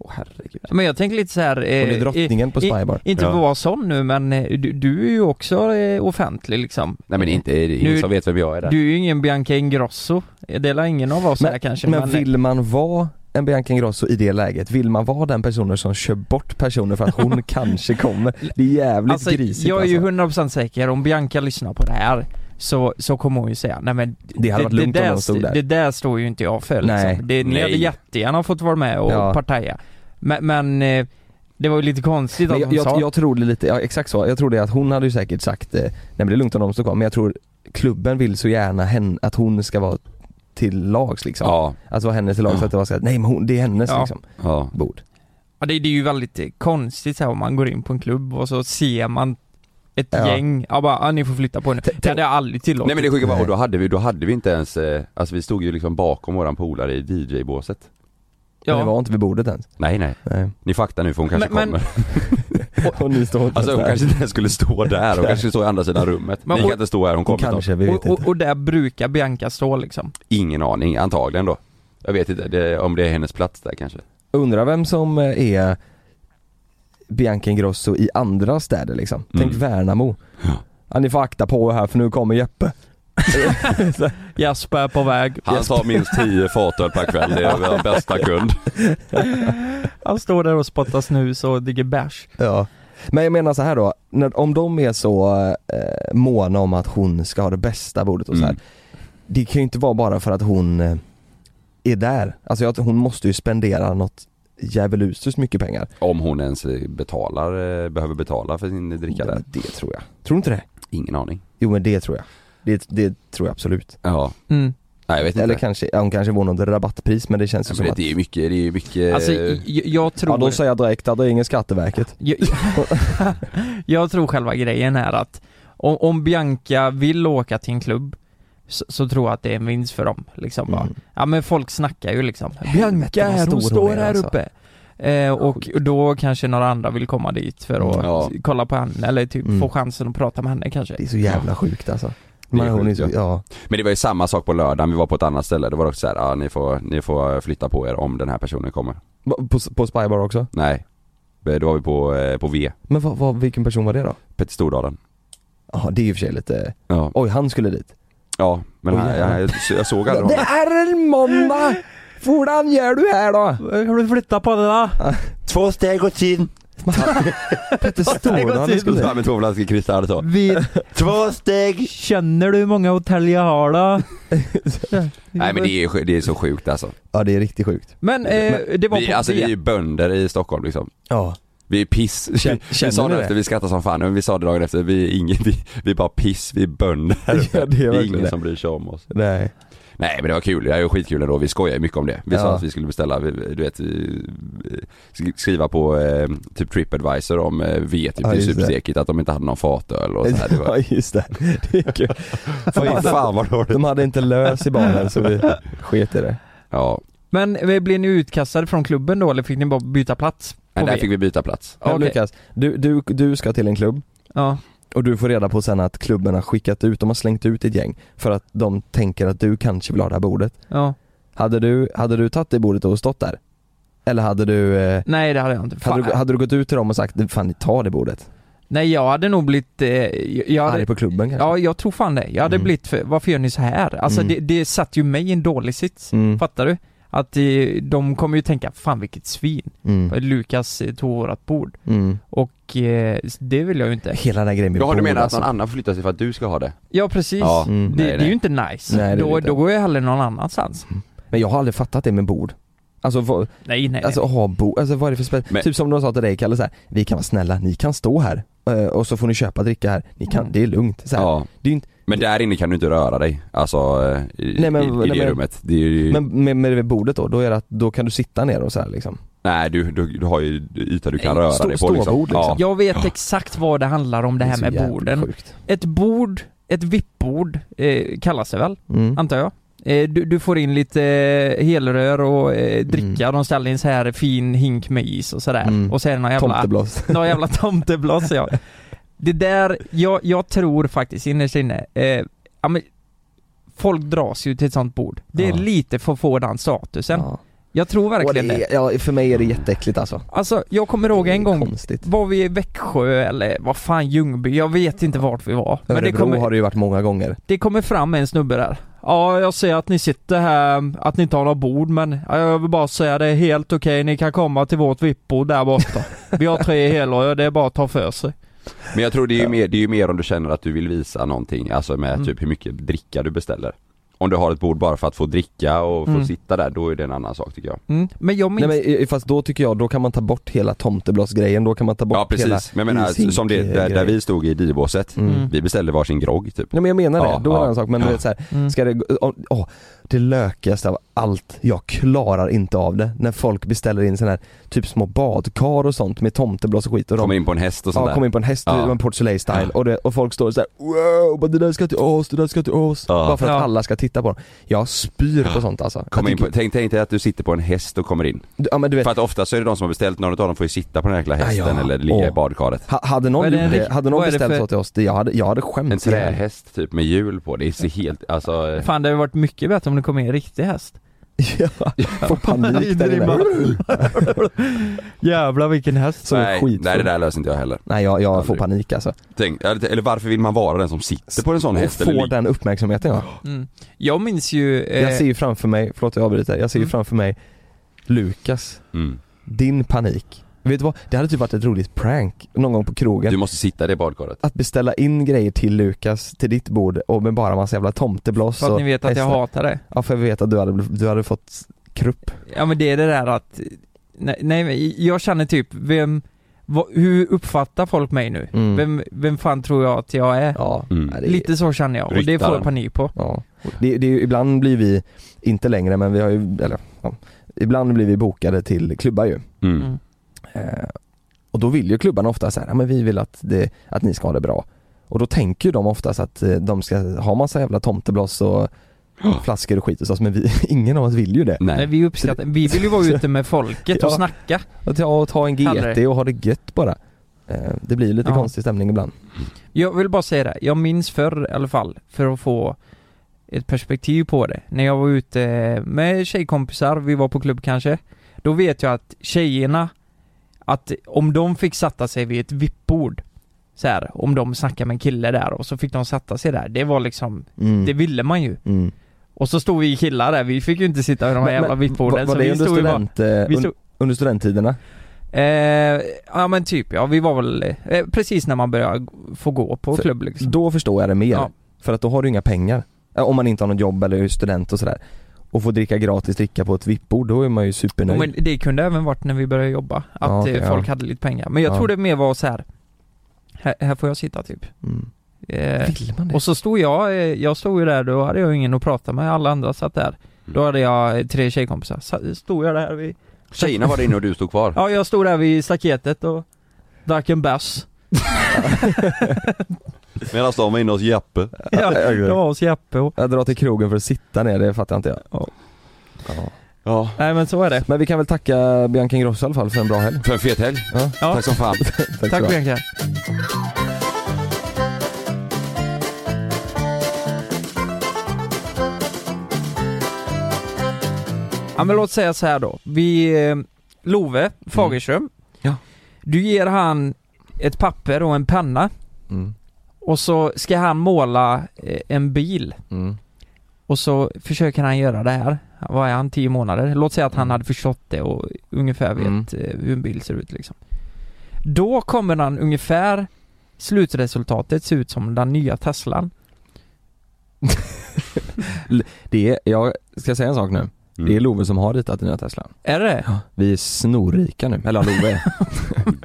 Åh herregud. Men jag tänker lite så här. eh, Hon är drottningen på i- Spybar. Inte för Ja. att vara sån nu men eh, du, du är ju också eh, offentlig liksom. Nej men inte, det är ingen Nu- som vet vem jag är där. Du är ju ingen Bianca Ingrosso. Det lär ingen av oss här kanske. eh, men vill man vara en Bianca Ingrosso i det läget, vill man vara den personen som kör bort personer för att hon kanske kommer? Det är jävligt alltså, grisigt jag är ju alltså. 100% säker, om Bianca lyssnar på det här så, så kommer hon ju säga nej men Det hade varit lugnt om där, hon stod där. det där står ju inte jag för Nej. liksom. det, Ni Nej. hade jättegärna fått vara med och Ja. partaja. Men, men eh, det var ju lite konstigt Men att jag, hon sa. jag, jag tror det lite, ja exakt så, jag tror det att hon hade ju säkert sagt eh, nej men det är lugnt om de står kvar, men jag tror klubben vill så gärna hen, att hon ska vara till lags liksom. Ja, Att vara henne till lags, Ja. att det var så här, nej men hon, det är hennes Ja. liksom, ja. bord. ja, det, det är ju väldigt eh, konstigt så här, om man går in på en klubb och så ser man ett Ja. gäng, ja bara ah, ni får flytta på er nu. Tänk- Det hade jag aldrig tillåtit. Nej men det sjuka var, Nej. och då hade vi, då hade vi inte ens, eh, alltså vi stod ju liksom bakom våran polare i DJ-båset. Ja. Men ja. det var inte vid bordet ens. Nej nej, Nej. ni faktar nu för hon kanske Men- men- kommer. Och ni står Alltså hon kanske inte ens skulle stå där, hon Nej. kanske skulle stå i andra sidan rummet. Men ni hon- kan inte stå här, hon kommer snart. Kanske, vi vet och, och, inte. och där brukar Bianca stå liksom. Ingen aning, antagligen då. Jag vet inte det, om det är hennes plats där kanske. Undrar vem som eh, är Bianca Ingrosso i andra städer liksom. Tänk Mm. Värnamo. Ja. Ja, ni får akta på er här för nu kommer Jeppe. Jasper är på väg. Han tar minst 10 fatöl per kväll, det är vår bästa kund. Han står där och spottar snus och dricker bärs. Ja. Men jag menar så här då, när, om de är så eh, måna om att hon ska ha det bästa bordet och så här. Mm. Det kan ju inte vara bara för att hon eh, är där. Alltså jag, hon måste ju spendera något djävulusiskt mycket pengar. Om hon ens eh, betalar, eh, behöver betala för sin dricka där. Det tror jag. Tror du inte det? Ingen aning. Jo men det tror jag. Det, det tror jag absolut. Ja. Mm. Nej jag vet inte. Eller kanske, ja, hon kanske får något rabattpris men det känns ju Ja, som men det, att det är ju mycket, det är ju mycket... Alltså, jag, jag Eh, Ja tror... då säger jag direkt att det är inget Skatteverket. jag, jag tror själva grejen är att om, om Bianca vill åka till en klubb så, så tror jag att det är en vinst för dem. Liksom bara. Mm. Ja men folk snackar ju liksom. Helvete, Bianca vad här, stor hon hon står är, här alltså." uppe. Eh, och då kanske några andra vill komma dit för att Ja. kolla på henne eller typ Mm. få chansen att prata med henne kanske. Det är så jävla sjukt alltså. Det är Men hon är sjukt, så, ja. Men det var ju samma sak på lördagen, vi var på ett annat ställe, det var också såhär, ah, ni, får, ni får flytta på er om den här personen kommer. På, på Spybar också? Nej. Då var vi på, eh, på V, Men vad, vad, vilken person var det då? Petter Stordalen. Ja det är i och för sig lite, Ja. oj han skulle dit. Ja, men Oj, han, jävlar. jag, jag såg aldrig honom. är en måndag! Hvordan gör du här då? Kan du flytta på det där? Två steg åt sidan. Petter Stordalen skulle Fram dit. med två flaskor kristall så. Vi Två steg! Känner du hur många hotell jag har då? Nej men det är, ju sj- det är så sjukt alltså. Ja det är riktigt sjukt. Men, eh, det var Vi, på alltså vi det. är ju bönder i Stockholm liksom. Ja. Vi är piss. Känner- vi sa känner ni det det? efter, vi skrattade som fan, men vi sa det dagen efter, vi är ingen, vi, vi är bara piss, vi är bönder. Ja, det är det är verkligen ingen det. som bryr sig om oss. Nej. Nej men det var kul, det var skitkul ändå, vi skojade mycket om det. Vi Ja. sa att vi skulle beställa, vi- du vet, vi- sk- skriva på eh, typ Tripadvisor om eh, V, typ Ja, det är just det. superstekigt, att de inte hade någon fatöl och så här. Det Ja var, just det. Det är kul. fan, fan vad dåligt. De hade inte lös i baren så vi sket i det. Ja, Men eh, blev ni utkastade från klubben då eller fick ni bara byta plats? men På där V? fick vi byta plats. Men Okej. Lukas, du, du, du ska till en klubb Ja. och du får reda på sen att klubben har skickat ut, de har slängt ut ett gäng för att de tänker att du kanske vill ha det här bordet. ja. Hade du, hade du tagit det bordet och stått där? Eller hade du, eh, Nej det hade jag inte. Fan. hade du, hade du gått ut till dem och sagt fan ni tar det bordet? Nej jag hade nog blivit... Eh, jag- jag Arg hade... på klubben kanske? Ja jag tror fan det. Jag hade Mm. blivit för, varför gör ni så här? Alltså Mm. det, det satt ju mig i en dålig sits. Mm. Fattar du? Att eh, de kommer ju tänka, fan vilket svin. Mm. Lukas eh, tog vårat bord. Mm. Och eh, det vill jag ju inte. Hela den här grejen med Jaha du bord, menar att alltså. någon annan flyttar sig för att du ska ha det? Ja precis. Ja, det, mm, nej, det är nej. ju inte nice. Nej, det är det då, inte. Mm. då går jag hellre någon annanstans. Men jag har aldrig fattat det med bord Alltså, vad, Nej nej. alltså ha bord, alltså vad är det för spel? Men- Typ som de sa till dig Kalle så här, vi kan vara snälla, ni kan stå här eh, och så får ni köpa dricka här, ni kan, Mm. det är lugnt så här. Ja. Det är ju inte, Men där inne kan du inte röra dig, alltså eh, i, Nej, men- i, i nej, det men- rummet. Det är ju, men med, med det bordet då, då är det att, då kan du sitta ner och så här liksom nej du, du, du har ju yta du kan röra stå- dig på liksom. ståbord, liksom. Ja. Jag vet exakt vad det handlar om det är här så med jävligt borden. sjukt. Ett bord, ett vippbord eh, kallas det väl? Mm. antar jag. Eh, Du, du får in lite eh, helrör och eh, dricka, de ställer in så här fin hink med is och sådär. Mm. Och så är det någon jävla, Tomtebloss någon jävla tomtebloss ja. Det där, jag, jag tror faktiskt innerst inne, eh, ja, men, folk dras ju till ett sånt bord. Det är Ja. lite för att få den statusen. Ja. Jag tror Och verkligen det. det är, ja, för mig är det jätteäckligt alltså Alltså, jag kommer ihåg Det är en gång Konstigt var vi i Växjö eller vad fan Ljungby, jag vet inte vart vi var. Men det Örebro kommer, har det ju varit många gånger det kommer fram en snubbe där. Ja, jag ser att ni sitter här, att ni inte har något bord men ja, jag vill bara säga det är helt okej, ni kan komma till vårt vippbord där borta. Vi har tre helrör, det är bara att ta för sig. Men jag tror det är, ju mer, det är ju mer om du känner att du vill visa någonting, alltså med Mm. typ hur mycket dricka du beställer. Om du har ett bord bara för att få dricka och få Mm. sitta där, då är det en annan sak tycker jag. Mm. Men jag minns... Nej men i- fast då tycker jag, då kan man ta bort hela tomteblossgrejen, då kan man ta bort ja hela precis, men jag menar ishink- som det, där, där grejen. vi stod i divbåset, Mm. vi beställde varsin grogg typ. Nej men jag menar Ja, det, då är ja. det en sak men du Ja. vet såhär, Mm. ska det, gå- åh, åh, det lökigaste av allt, jag klarar inte av det när folk beställer in sån här typ små badkar och sånt med tomtebloss och skit och de Kommer in på en häst och sånt Ja, där. kom in på en häst, Ja. ja. en Port Soleil style och, det, och folk står såhär wow, bara, det där ska till oss, det där ska till oss. Ja. Bara för att Ja. alla ska titta på dem. Jag spyr på sånt alltså. Jag Kom in på, tycker- tänk, tänk dig att du sitter på en häst och kommer in. Ja men du vet, För att ofta så är det de som har beställt, någon av dem får ju sitta på den här jäkla hästen Ja, ja. eller ligga i Åh. badkaret. ha- hade Vad någon, är det gjort en det, rik- hade vad någon är det beställt för- så till oss, det, jag, hade, jag hade skämt En ihjäl. trähäst typ med hjul på, det är så helt, alltså eh, Fan det hade varit mycket bättre om det kom in en riktig häst. Ja, får panik där inne. Jävlar vilken häst. Så nej, skitfull. nej det där löser inte jag heller. Nej jag, jag får Aldrig. panik alltså. Tänk, eller eller varför vill man vara den som sitter på en sån Och häst eller får ligger? den uppmärksamheten ja. Mm. Jag minns ju... Eh, Jag ser ju framför mig, förlåt jag avbryter, jag ser ju Mm. framför mig Lukas, Mm. din panik. Vet du vad? Det hade typ varit ett roligt prank någon gång på krogen. Du måste sitta där i badkaret. Att beställa in grejer till Lukas, till ditt bord och med bara massa jävla tomtebloss för att och ni vet att jag hästar. hatar det. Ja för jag vet att du hade, bl- du hade fått krupp. Ja men det är det där att... Nej, nej men jag känner typ, vem... vad- hur uppfattar folk mig nu? Mm. Vem, vem fan tror jag att jag är? Ja. Mm. Nej, det är- Lite så känner jag och det får Ryttaren. jag panik på. Ja. Det, det, är ju- ibland blir vi, inte längre men vi har ju, eller ja, ibland blir vi bokade till klubbar ju. Mm. Mm. Eh, och då vill ju klubbarna ofta så här, "Ja, men vi vill att, det, att ni ska ha det bra. Och då tänker ju de oftast att eh, de ska ha massa jävla tomtebloss och flaskor och skit hos oss men vi, ingen av oss vill ju det. Nej, Nej. vi uppskattar, vi vill ju vara ute med folket och Ja. snacka. Att ta, ta en GT Aldrig. och ha det gött bara. Eh, det blir ju lite Ja. konstig stämning ibland. Jag vill bara säga det, jag minns förr i alla fall, för att få ett perspektiv på det. När jag var ute med tjejkompisar, vi var på klubb kanske. Då vet jag att tjejerna, att om de fick sätta sig vid ett vippbord så här, om de snackade med en kille där och så fick de sätta sig där. Det var liksom, Mm. det ville man ju. Mm. Och så stod vi killar där, vi fick ju inte sitta vid de här Men- jävla men vippborden. Var, så var det vi under, stod ju bara, student, eh, vi un- stod, under studenttiderna? Eh, ja men typ ja, vi var väl eh, precis när man började g- få gå på För- klubb liksom. Då förstår jag det mer. Ja. För att då har du inga pengar. Eh, Om man inte har något jobb eller är student och sådär. Och få dricka gratis dricka på ett vippbord, då är man ju Ja, supernöjd. men det kunde även varit när vi började jobba, att Ja, okej, eh, folk ja. hade lite pengar. Men jag Ja. tror det mer var så här. här, här får jag sitta typ. Mm. Eh, Vill man det? och så stod jag, eh, jag stod ju där, då hade jag ingen att prata med, alla andra satt där. Mm. Då hade jag eh, tre tjejkompisar, så stod jag där vid, Tjejerna var där inne och du stod kvar. ja jag stod där vid staketet och drack en bärs. Medan de var inne hos Jeppe. Ja, Ja, det ja. var hos Jeppe och, Jag drar till krogen för att sitta ner, det fattar inte jag. Ja. Ja. Ja. nej men så är det. Men vi kan väl tacka Bianca Ingrosso i alla fall för en bra helg. För en fet helg. Ja, Ja. Tack som fan. tack, Tack tack Bianca. Ja men låt säga så här då. Vi, eh, Love Fagerström. Ja. Du ger han ett papper och en penna mm. och så ska han måla eh, en bil. Mm. Och så försöker han göra det här, vad är han, 10 månader? Låt säga att han hade förstått det och ungefär vet Mm. eh, hur en bil ser ut liksom. Då kommer han ungefär slutresultatet se ut som den nya Teslan. Det är, jag ska säga en sak nu. Det Mm. är Love som har ritat den nya Teslan. Är det? Vi är snorrika nu, eller Love är.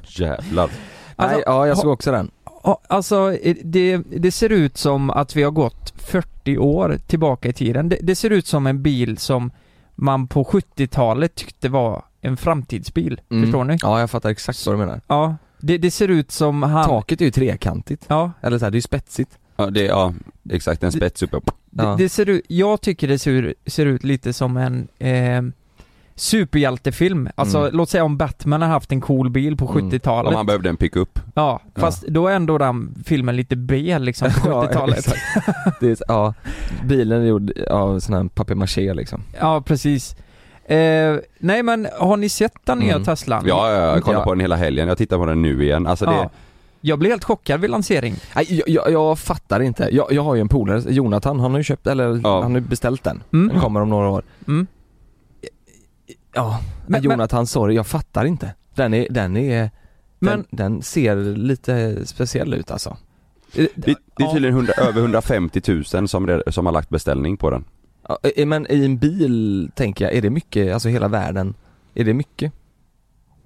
Jävlar. Alltså, Nej, ja jag såg också den. Ja, Alltså, eh, det, det ser ut som att vi har gått 40 år tillbaka i tiden. Det, det ser ut som en bil som man på 70-talet tyckte var en framtidsbil. Mm. Förstår ni? Ja jag fattar exakt vad du menar. Ja. Det, det ser ut som han... Taket är ju trekantigt. Ja. Eller så här, det är ju spetsigt. Ja, det, ja exakt, en spets uppe. Det, Ja. det ser ut, jag tycker det ser, ser ut lite som en eh, superhjältefilm. Alltså, Mm. låt säga om Batman har haft en cool bil på Mm. 70-talet. Om han behövde en pickup. Ja, fast då är ändå den filmen lite B liksom på Ja, 70-talet. exakt. Det är, ja, bilen är gjord av sån här papier-maché liksom. Ja, precis. Eh, nej men har ni sett den nya Mm. Teslan? Ja, ja, jag kollade Ja. på den hela helgen, jag tittar på den nu igen. Alltså det, Ja. Jag blev helt chockad vid lansering. Nej, jag, jag, jag fattar inte. Jag, jag har ju en polare, Jonathan, han har ju köpt, eller Ja. han har ju beställt den. Den Mm. kommer om några år. Mm. Ja, Men- men, Jonathan, sorry, jag fattar inte. Den är, den är, Men den, den ser lite speciell ut alltså. eh, det, det är Ja. tydligen 100, över 150 000 som, det, som har lagt beställning på den. Ja, eh, Men i en bil, tänker jag, är det mycket, alltså hela världen, är det mycket?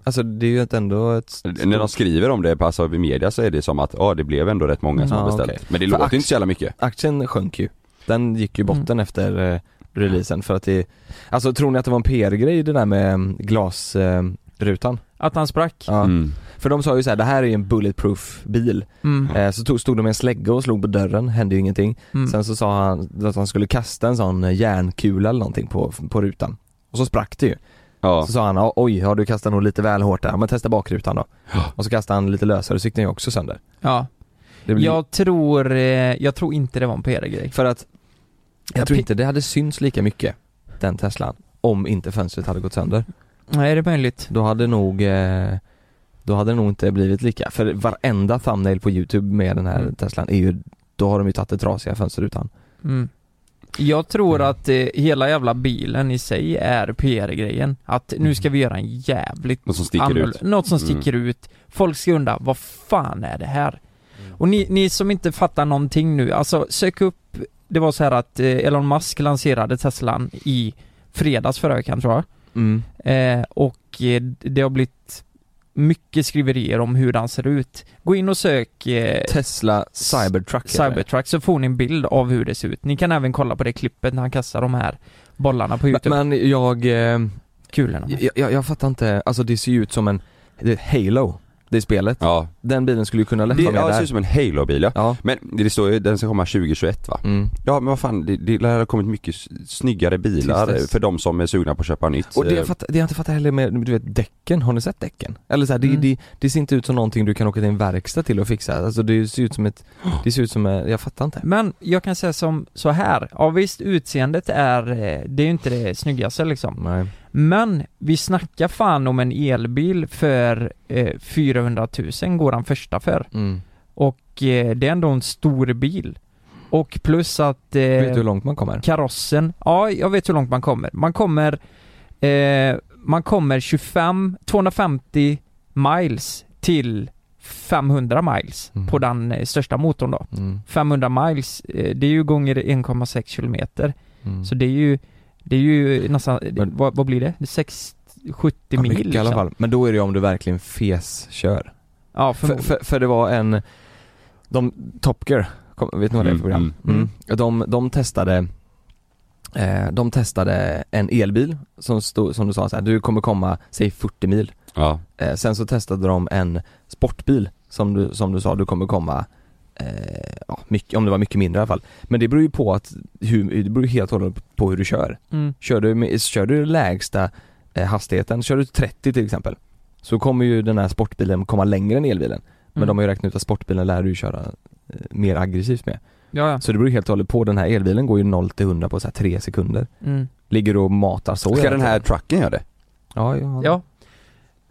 Alltså det är ju ett- ändå ett... stort- När de skriver om det på alltså, i media så är det som att ja det blev ändå rätt många som Ja, har beställt. okej. Men det För låter ax- inte så jävla mycket. Aktien sjönk ju. Den gick ju i botten efter eh, releasen för att det, alltså tror ni att det var en PR-grej det där med mm, glasrutan? att han sprack. Ja. Mm. För de sa ju så här, det här är ju en bulletproof bil. Mm. Eh, så tog, stod de med en slägga och slog på dörren, hände ju ingenting. Mm. Sen så sa han att han skulle kasta en sån eh, järnkula eller någonting på, på rutan. Och så sprack det ju. Ja. Så sa han, oj, har du kastat nog lite väl hårt där, Ja, men testa bakrutan då. Ja. Och så kastade han lite lösare, så gick den ju också sönder. Ja. Det blir- Jag tror, eh, jag tror inte det var en PR-grej. För att jag, Jag tror pi- inte det hade synts lika mycket, den Teslan, om inte fönstret hade gått sönder. Nej, det är möjligt. Då hade nog, eh, då hade det nog inte blivit lika. För varenda thumbnail på youtube med den här Mm. Teslan är ju, då har de ju tagit det trasiga fönsterrutan. Mm. Jag tror Mm. att eh, hela jävla bilen i sig är PR-grejen. Att nu ska vi göra en jävligt Något som Mm. sticker ut. annorlunda- Något som Mm. sticker ut. Folk ska undra, vad fan är det här? Och ni, ni som inte fattar någonting nu, alltså sök upp, det var så här att eh, Elon Musk lanserade Teslan i fredags förra veckan tror jag. Mm. Eh, och eh, det har blivit mycket skriverier om hur den ser ut. Gå in och sök eh, Tesla Cybertruck heter det. Cybertruck så får ni en bild av hur det ser ut. Ni kan även kolla på det klippet när han kastar de här bollarna på Youtube. Men men jag, eh, Kulorna. jag, jag, jag fattar inte, alltså det ser ju ut som en, det är Halo, det är spelet. Ja. Den bilen skulle ju kunna lätt Det, vara med ja, det ser ut där. som en Halo-bil ja. Ja. Men det står ju, den ska komma 2021 va? Mm. Ja men vad fan, det, det lär ha kommit mycket s- snyggare bilar Tills dess. för de som är sugna på att köpa nytt. Och det Eh, jag, fattar, det jag inte fattar heller med, du vet däcken, har ni sett däcken? Eller så här, det, Mm. det, det ser inte ut som någonting du kan åka till en verkstad till och fixa, alltså det ser ut som ett, det ser ut som, eh, jag fattar inte. Men jag kan säga som så här, ja visst utseendet är, eh, det är ju inte det snyggaste liksom. Nej. Men vi snackar fan om en elbil för eh, 400 000 går han första för. Mm. Och eh, det är ändå en stor bil. Och plus att eh, Vet du hur långt man kommer? karossen, ja jag vet hur långt man kommer. Man kommer, eh, man kommer 25, 250 miles till 500 miles Mm. på den eh, största motorn då. Mm. 500 miles, eh, det är ju gånger 1,6 kilometer. Mm. Så det är ju, det är ju nästan, eh, Men- vad, vad blir det? Det är 6, 70 Ja, mil liksom. mycket i alla fall. Men då är det ju om du verkligen fes-kör. Ja, För, förmodligen. för, för det var en, de, Top Gear, kom, vet ni vad det är för Mm, program? mm. Mm. De, de testade eh, de testade en elbil som, stod, som du sa så här, du kommer komma, säg 40 mil Ja. Eh, sen så testade de en sportbil som du, som du sa, du kommer komma eh, ja, mycket, om det var mycket mindre i alla fall. Men det beror ju på att, hur, det beror ju helt och hållet på hur du kör. Mm. Kör du, med, kör du lägsta eh, hastigheten, kör du 30 till exempel, så kommer ju den här sportbilen komma längre än elbilen. Men Mm. de har ju räknat ut att sportbilen lär du ju köra eh, mer aggressivt med. Ja, ja. Så det beror ju helt och hållet på, den här elbilen går ju 0 till 100 på så här 3 sekunder. Mm. Ligger och matar så Ska hela den här tiden. trucken göra det? Eh, Ja, ja. ja.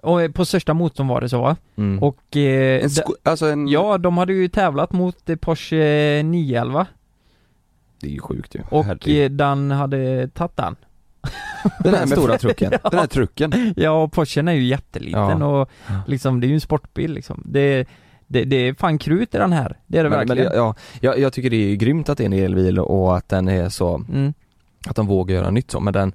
Och eh, på största motorn var det så va? Mm. Och eh, En da- sko- alltså en... Ja, de hade ju tävlat mot eh, Porsche 911 Det är ju sjukt ju. Och Herregud. eh, Dan hade tagit den. Den här stora trucken. Den här trucken. Ja, och Porschen är ju jätteliten Ja. och liksom det är ju en sportbil liksom. Det, det, det är fan krut i den här, det är det Men, men, verkligen. ja, jag, jag tycker det är grymt att det är en elbil och att den är så, Mm. att de vågar göra nytt så, men den,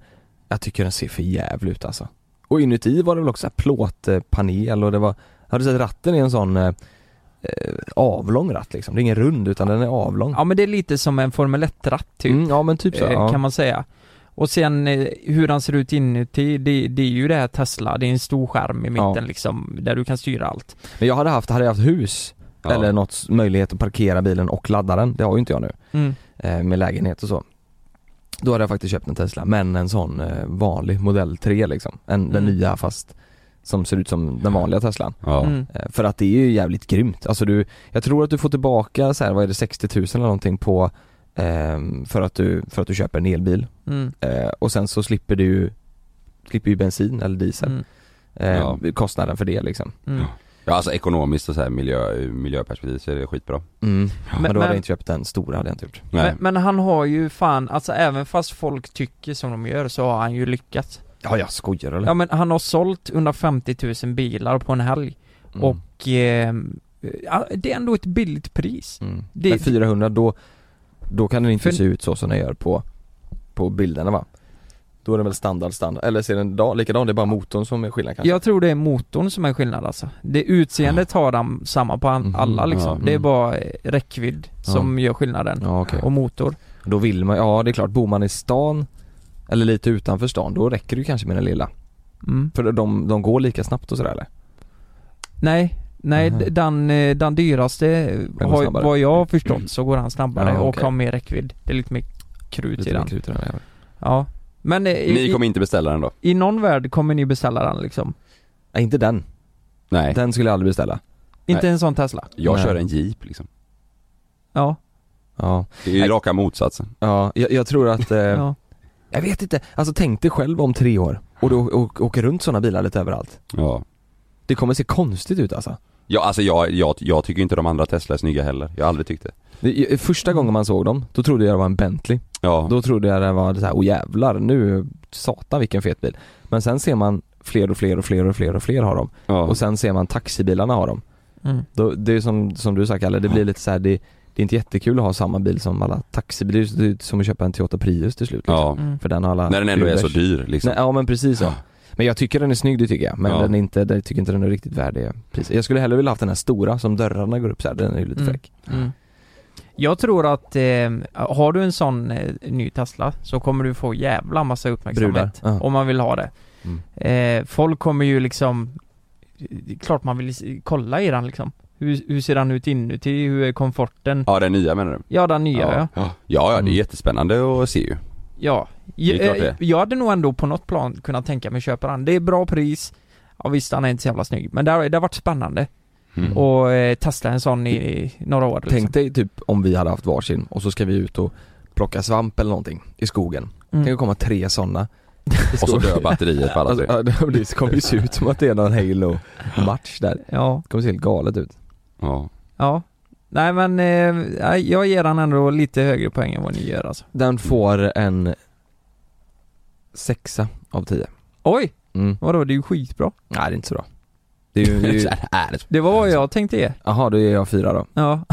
jag tycker den ser för jävligt ut alltså. Och inuti var det väl också så här plåtpanel och det var, har du sett ratten är en sån eh, eh, avlång ratt liksom, det är ingen rund utan den är avlång. ja men det är lite som en Formel 1-ratt typ, Mm, ja men typ så. eh, ja. kan man säga. Och sen eh, hur den ser ut inuti, det, det är ju det här Tesla, det är en stor skärm i mitten Ja. liksom, där du kan styra allt. Men jag hade haft, hade jag haft hus Ja. eller något s- möjlighet att parkera bilen och ladda den, det har ju inte jag nu, Mm. eh, med lägenhet och så. Då hade jag faktiskt köpt en Tesla, men en sån eh, vanlig modell 3 liksom. En, Den Mm. nya fast som ser ut som den vanliga Teslan. Ja. Mm. Eh, För att det är ju jävligt grymt. Alltså du, jag tror att du får tillbaka så här, vad är det, 60 000 eller någonting på ehm, för, att du, för att du köper en elbil. Mm. Eh, och sen så slipper du ju- slipper ju bensin eller diesel. Mm. Eh, Ja. Kostnaden för det liksom. Mm. ja, alltså ekonomiskt och så här miljö, ur miljöperspektiv så är det skitbra. Mm. Men, Men- då hade men- jag inte köpt den stora, hade jag inte gjort. Nej. Men, men han har ju fan, alltså även fast folk tycker som de gör så har han ju lyckats. Ja, jag skojar eller? Ja men han har sålt 150 000 bilar på en helg Mm. och eh, ja, det är ändå ett billigt pris. Mm. Det- Men 400 då, då kan den inte För- se ut så som den gör på, på bilderna va? Då är den väl standard, standard, eller ser den da- likadan, det är bara motorn som är skillnad kanske? Jag tror det är motorn som är skillnad alltså. Det utseendet har de samma på an- Mhm, alla liksom. ja, Det är mm. bara eh, räckvidd som gör skillnaden. Ja okej, Och motor. då vill man, ja det är klart, bor man i stan eller lite utanför stan, då räcker det ju kanske med den lilla. Mm. För de, de går lika snabbt och sådär eller? Nej, nej Mhm. d- den, eh, den dyraste går har, snabbare. vad jag har förstått så går han snabbare Ja, och okej. har mer räckvidd. Det är lite mer krut i den. mer krut i den, ja. Ja. Men eh, i, Ni kommer inte beställa den då? i någon värld kommer ni beställa den liksom. Nej inte den, Nej. den skulle jag aldrig beställa. Inte en sån Tesla. Jag Nej. kör en jeep liksom. Ja. Ja, Det är ju Nej. raka motsatsen. ja jag, jag tror att, eh, ja. jag vet inte, alltså tänk dig själv om tre år och då och, åker runt sådana bilar lite överallt. Ja. Det kommer se konstigt ut alltså. Ja, alltså jag, jag, jag tycker inte de andra Tesla är snygga heller. Jag har aldrig tyckt det. Det- Första gången man såg dem, då trodde jag det var en Bentley. Ja. Då trodde jag det var så här, oh jävlar, nu, satan vilken fet bil. Men sen ser man fler och fler och fler och fler och fler har dem. ja. Och sen ser man taxibilarna har dem. Mm. Då, det är som, som du sa Kalle, det blir lite så här, det, det är inte jättekul att ha samma bil som alla taxibilar. Det är ju- Det är ju som att köpa en Toyota Prius till slut. Liksom. ja. Mm. För den har alla När den ändå är så Ubers. dyr liksom. Nej, ja men precis så. Men jag tycker den är snygg, det tycker jag. Men Ja. den är inte, jag tycker inte den är riktigt värd det priset. Jag skulle hellre vilja haft den här stora som dörrarna går upp så här. den är ju lite Mm. fräck. Mm. Jag tror att eh, har du en sån eh, ny Tesla så kommer du få jävla massa uppmärksamhet Brudar, ja. om man vill ha det. Mm. Eh, folk kommer ju liksom, det är klart man vill s- kolla i den liksom. Hur, hur ser den ut inuti? Hur är komforten? Ja, den nya menar du? Ja, den nya ja. Ja, ja, det är Mm. jättespännande att se ju. Ja. Det är klart Jag, det. jag hade nog ändå på något plan kunnat tänka mig att köpa den. Det är bra pris. Ja visst, den är inte så jävla snygg. Men det har, det har varit spännande Mm. och eh, testa en sån i, i några år liksom. Tänk dig typ om vi hade haft varsin och så ska vi ut och plocka svamp eller någonting i skogen. Tänk Mm. att komma tre sådana. Och så dör batteriet på alla Alltså, tre. ja, det- det kommer ju se ut som att det är någon Halo-match där. Ja. Det kommer se helt galet ut. Ja. Ja. Nej men, eh, nej, jag ger han ändå lite högre poäng än vad ni gör alltså. Den får en sexa av tio. Oj! Mm. Vadå, det är ju skitbra. Nej det är inte så bra. Det är ju, det är ju, Så här är det. Det var vad jag tänkte ge. aha, då ger jag fyra då. Ja.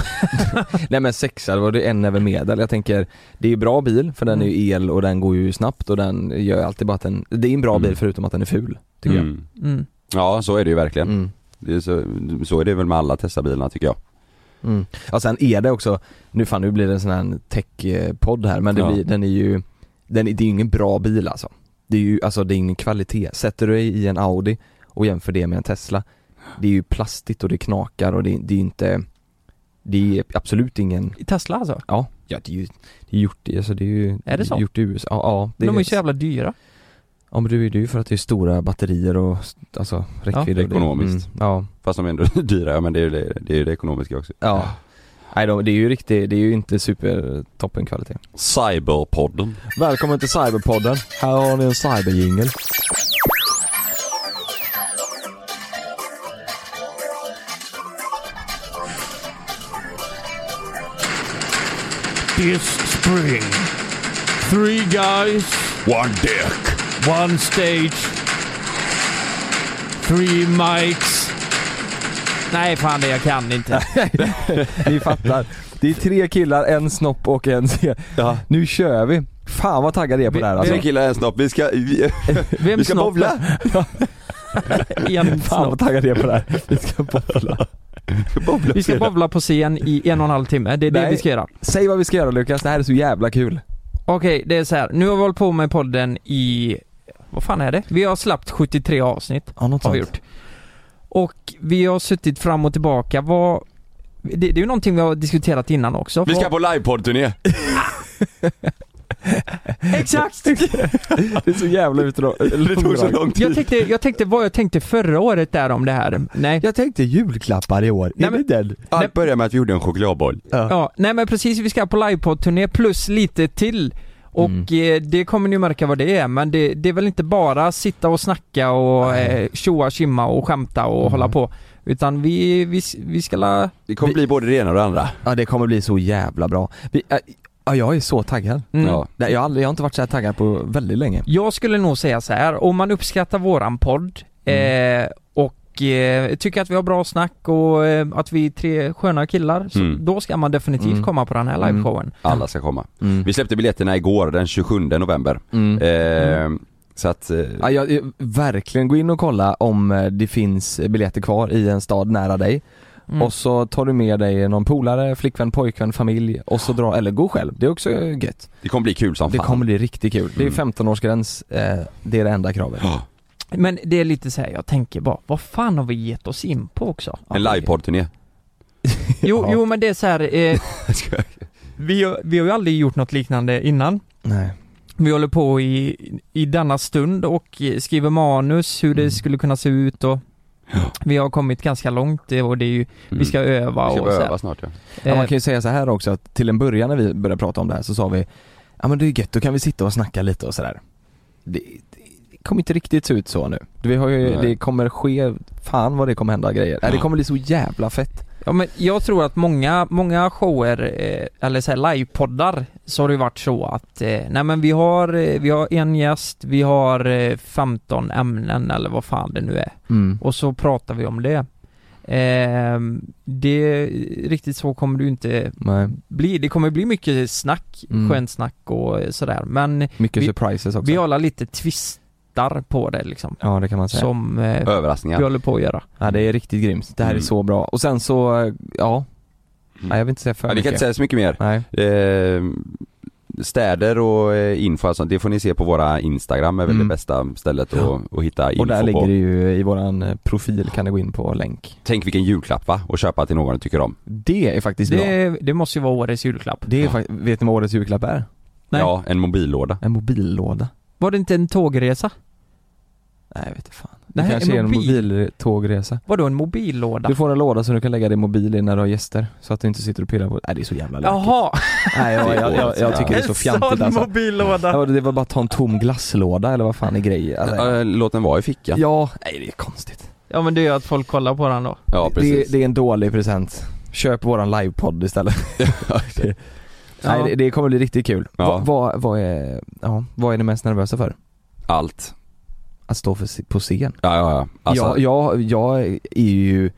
Nej men sexa, då var det en över medel. Jag tänker, det är ju bra bil för den är ju el och den går ju snabbt och den gör ju alltid bara att den, det är en bra Mm. bil förutom att den är ful. Tycker Mm. Mm. Ja, så är det ju jag. verkligen. Mm. Det är så, så är det väl med alla Tesla-bilarna tycker jag. Mm. Ja sen är det också, nu fan nu blir det en sån här tech-podd här men det Ja. blir, den är ju, den, är- det är ju ingen bra bil alltså. Det är ju, alltså det är ingen kvalitet. Sätter du dig i en Audi och jämför det med en Tesla, det är ju plastigt och det knakar och det, det är ju inte, det är absolut ingen, Tesla alltså? ja, ja det är ju, det är gjort i, alltså det är ju Är det så? gjort i USA, ja, ja det De är ju så jävla dyra. Ja men det är ju för att det är stora batterier och alltså räckvidd och det- ekonomiskt. Mm, ja, Fast de är ändå dyra, ja, men det är ju det, det, är ju det ekonomiska också. ja. Nej de, det är ju riktigt, det är ju inte super toppen kvalitet. Cyberpodden. Välkommen till Cyberpodden. Här har ni en cyberjingel. this spring. Three guys, One dick. one stage, three mics. Nej, fan det jag kan inte. Ni fattar. Det är tre killar, en snopp och en se. Ja. Nu kör vi. Fan vad taggad jag är på det här alltså. Tre killar en snopp, vi ska... Vi, Vem vi ska snoppar? bowla! En Fan vad snopp. taggad jag är på det här. Vi ska bowla. Bowla. Vi ska bowla på scen i en och en halv timme, det är det Nej. vi ska göra. Säg vad vi ska göra Lukas, det här är så jävla kul. Okej, det är så här. nu har vi hållit på med podden i... Vad fan är det? Vi har släppt 73 avsnitt, Ja, något har vi gjort. Och vi har suttit fram och tillbaka, vad... Det, det är ju någonting vi har diskuterat innan också. Vi ska Vad- på livepodd-turné! Exakt! Det är så jävla Det tog så utdraget. lång Jag tid. tänkte, jag tänkte vad jag tänkte förra året där om det här. Mm. Nej. Jag tänkte julklappar i år, Nej, men- den? Allt började med att vi gjorde en chokladboll. Ja, nej men precis, vi ska på livepodd-turné plus lite till. Och eh, det kommer ni märka vad det är, men det, det är väl inte bara sitta och snacka och eh, tjoa, tjimma och skämta och hålla på. Utan vi, vi, vi ska la... Det kommer bli både det ena och det andra. Ja det kommer bli så jävla bra. Vi, äh, ja, jag är så taggad. Mm. Ja. Nej, Jag har, aldrig, jag har inte varit så här taggad på väldigt länge. Jag skulle nog säga så här, om man uppskattar våran podd eh, och eh, tycker att vi har bra snack och eh, att vi är tre sköna killar, så Mm. då ska man definitivt Mm. komma på den här Mm. liveshowen. Alla ska komma. Mm. Vi släppte biljetterna igår den 27 november. Mm. Eh, så att... eh, Ja, jag, jag, verkligen gå in och kolla om eh, det finns biljetter kvar i en stad nära dig. Mm. Och så tar du med dig någon polare, flickvän, pojkvän, familj och så drar, eller gå själv. Det är också eh, gött. Det kommer bli kul som Det fan. kommer bli riktigt kul. Det är Mm. 15-årsgräns, eh, det är det enda kravet. Ja. Men det är lite så här, jag tänker bara, vad fan har vi gett oss in på också? En livepodd-turné. Jo, Ja. jo men det är så här, eh, Mm. vi, har- vi har ju aldrig gjort något liknande innan. Nej. Vi håller på i, i denna stund och eh, skriver manus, hur Mm. det skulle kunna se ut och vi har kommit ganska långt eh, och det är ju, vi ska Mm. öva Vi ska och så börja här. öva snart ja. Ja, man Eh, kan ju säga så här också att till en början när vi började prata om det här så sa vi Ja men det är gött, då kan vi sitta och snacka lite och sådär det, det kommer inte riktigt se ut så nu vi har ju, Nej. Det kommer ske, fan vad det kommer hända grejer. Nej, det kommer bli så jävla fett Eh, Ja men jag tror att många, många shower, eh, eller så här livepoddar, så har det ju varit så att, eh, nej men vi har, eh, vi har en gäst, vi har eh, 15 ämnen eller vad fan det nu är. Och så pratar vi om det. Ehm, det, riktigt så kommer det ju inte Nej, bli. Det kommer bli mycket snack, Mm. skönt snack och eh, sådär. Men mycket Vi- surprises också vi har alla lite twistar på det liksom. Ja det kan man säga Som eh, vi Överraskningar. håller på att göra. Ja det är riktigt grymt, det här är Mm. så bra och sen så, eh, ja Nej jag vill inte säga för Ja, vi mycket kan inte säga så mycket mer. Nej, Eh, städer och eh, info och sånt, det får ni se på våra Instagram är väl Mm. det bästa stället Ja. att, att hitta info och där på. ligger det ju i våran eh, profil kan du gå in på länk Tänk vilken julklapp va? Och köpa till någon du tycker om. Det är faktiskt bra Det, det måste ju vara årets julklapp. Det är fakt- vet ni vad årets julklapp är? Nej. Ja, en mobillåda. En mobillåda? Var det inte en tågresa? Nej jag vet inte fan. Det Nej, en kanske är en mobil. mobiltågresa. Vadå en mobillåda? Du får en låda som du kan lägga din mobil i när du har gäster, så att du inte sitter och pillar på Nej det är så jävla lökigt. Jaha! Nej jag, jag, jag, jag tycker det är så fjantigt alltså. mobillåda! Ja, Det var bara att ta en tom glasslåda eller vad fan är grejen? Alltså, Eh, Låt den vara i ja. fickan. Ja, nej det är konstigt. Ja men det gör att folk kollar på den då. precis. det, det är en dålig present. Köp våran livepodd istället. Nej det, det kommer bli riktigt kul. Ja. Vad, vad, vad är, ja, vad är ni mest nervösa för? Allt. Att stå för, på scen? Ja, ja, ja. Alltså, jag, jag, jag är ju,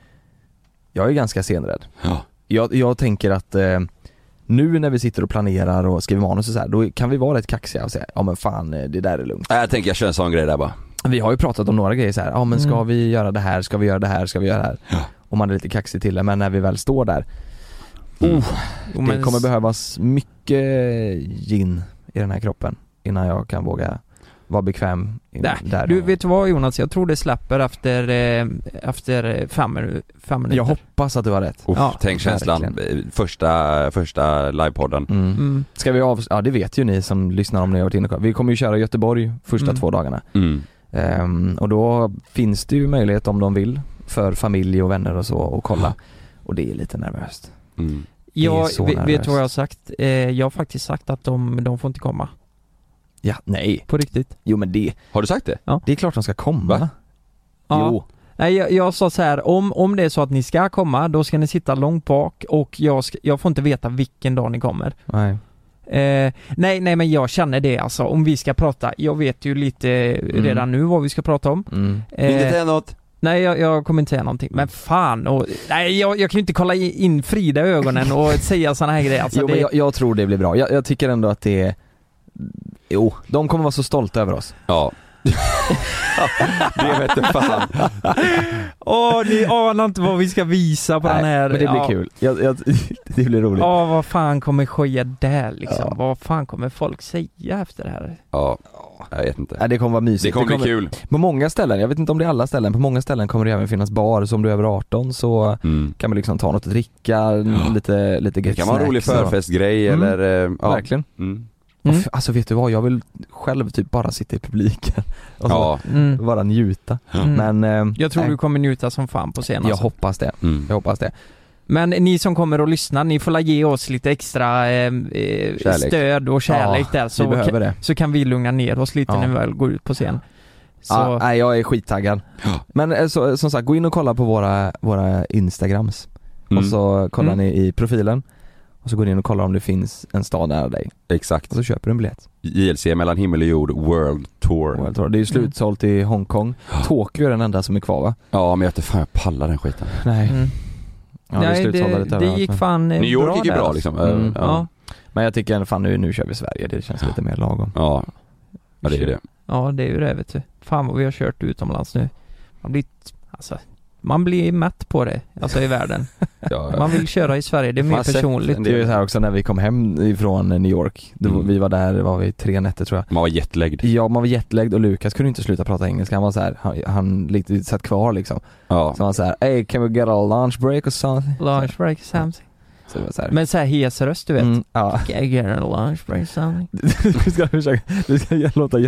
jag är ganska scenrädd. Ja. Jag, jag tänker att eh, nu när vi sitter och planerar och skriver manus och så här, då kan vi vara rätt kaxiga och säga ja men fan eh, det där är lugnt. Nej, Jag tänker jag kör en sån grej där bara. Vi har ju pratat om några grejer så här, ja men ska Mm. vi göra det här, ska vi göra det här, ska vi göra det här? Ja. Och man är lite kaxig till det, men när vi väl står där, Mm. Jo, det kommer behövas mycket gin i den här kroppen innan jag kan våga vara bekväm in, Nej, där. Du, vet du vad Jonas? Jag tror det släpper efter, eh, efter eh, fem, minu- fem minuter. jag hoppas att du har rätt. Uff, Ja, tänk känslan. Eh, Första, första livepodden. Mm. Mm. Ska vi av... Ja det vet ju ni som lyssnar om ni har varit inne och kollat. Vi kommer ju köra Göteborg första Mm. två dagarna. Mm. Ehm, och då finns det ju möjlighet om de vill för familj och vänner och så att kolla. Och det är lite nervöst. Mm. Jag, så vet, vet nervöst. du vad jag har sagt? Eh, jag har faktiskt sagt att de, de får inte komma. Ja, nej. På riktigt. Jo men det, Har du sagt det? det är klart de ska komma. Va? Ja. Jo. Nej, jag, jag sa så här, om, om det är så att ni ska komma, då ska ni sitta långt bak och jag, ska, jag får inte veta vilken dag ni kommer. Nej. Eh, nej, nej men jag känner det alltså. Om vi ska prata, jag vet ju lite eh, Mm. redan nu vad vi ska prata om. Mm. Eh, Inte säga något. Nej jag, jag kommer inte säga någonting, men fan och, Nej jag, jag kan ju inte kolla i- in Frida i ögonen och säga såna här grejer alltså, jo, det, men jag, jag tror det blir bra. Jag, jag tycker ändå att det är... Jo, de kommer vara så stolta över oss. Ja. det vete fan. Åh ni anar inte vad vi ska visa på den här men det blir ja. kul. Jag, jag, det blir roligt. Ja vad fan kommer ske där liksom? Ja. Mm. Vad fan kommer folk säga efter det här? Ja, jag vet inte. Nej, det kommer vara mysigt. Det kommer bli kul. På många ställen, jag vet inte om det är alla ställen, på många ställen kommer det även finnas bar. Så om du är över 18 så Mm. kan man liksom ta något att dricka, lite, lite Det gött kan vara en rolig snacks och- förfestgrej Mm. eller... eh, Ja. Verkligen. Mm. Mm. Uff, Alltså vet du vad, jag vill själv typ bara sitta i publiken och så Ja. Mm. bara njuta. Mm. Men eh, Jag tror nej, du kommer njuta som fan på scenen jag alltså. hoppas det. Mm. Jag hoppas det. Men ni som kommer och lyssnar, ni får la ge oss lite extra eh, eh, Kärlek. stöd och kärlek där Vi så, behöver det. så kan vi lugna ner oss lite Ja. när vi väl går ut på scen. Så, Ja, nej, jag är skittaggad. Ja. Men eh, så, som sagt, gå in och kolla på våra, våra instagrams Mm. och så kollar Mm. ni i profilen och så går ni in och kollar om det finns en stad nära dig Exakt. och så köper du en biljett. JLC mellan himmel och jord, World Tour. Och jag tror- Det är ju slutsålt i Hongkong. Tokyo är den enda som är kvar va? Ja men jag vet inte fan jag pallar den skiten. Nej. mm. Ja, det, är Nej, slutsålt det, lite det, överallt, gick men- fan eh, New York bra gick ju där, bra alltså. liksom. Mm. Eh, Ja. Ja. Men jag tycker fan nu, nu kör vi Sverige, det känns lite mer lagom. ja. Ja det är ju det. ja, det är ju det vet du. Fan vad vi har kört utomlands nu. Man blir, alltså, man blir mätt på det, alltså i världen. Ja. Man vill köra i Sverige, det är Man mer har sett personligt. en Det är ju så här också när vi kom hem ifrån New York, då, Mm. vi var där, var vi tre nätter tror jag. Man var jetlagged. Ja, man var jetlagged och Lukas kunde inte sluta prata engelska, han var så här, han, han lite satt kvar liksom. Ja. Så han var så här, hey can we get a lunch break or something? Lunch break something. Så det var så här, Men såhär hes röst du vet. mm, ja. Can I get a lunch break something? du ska försöka, du ska låta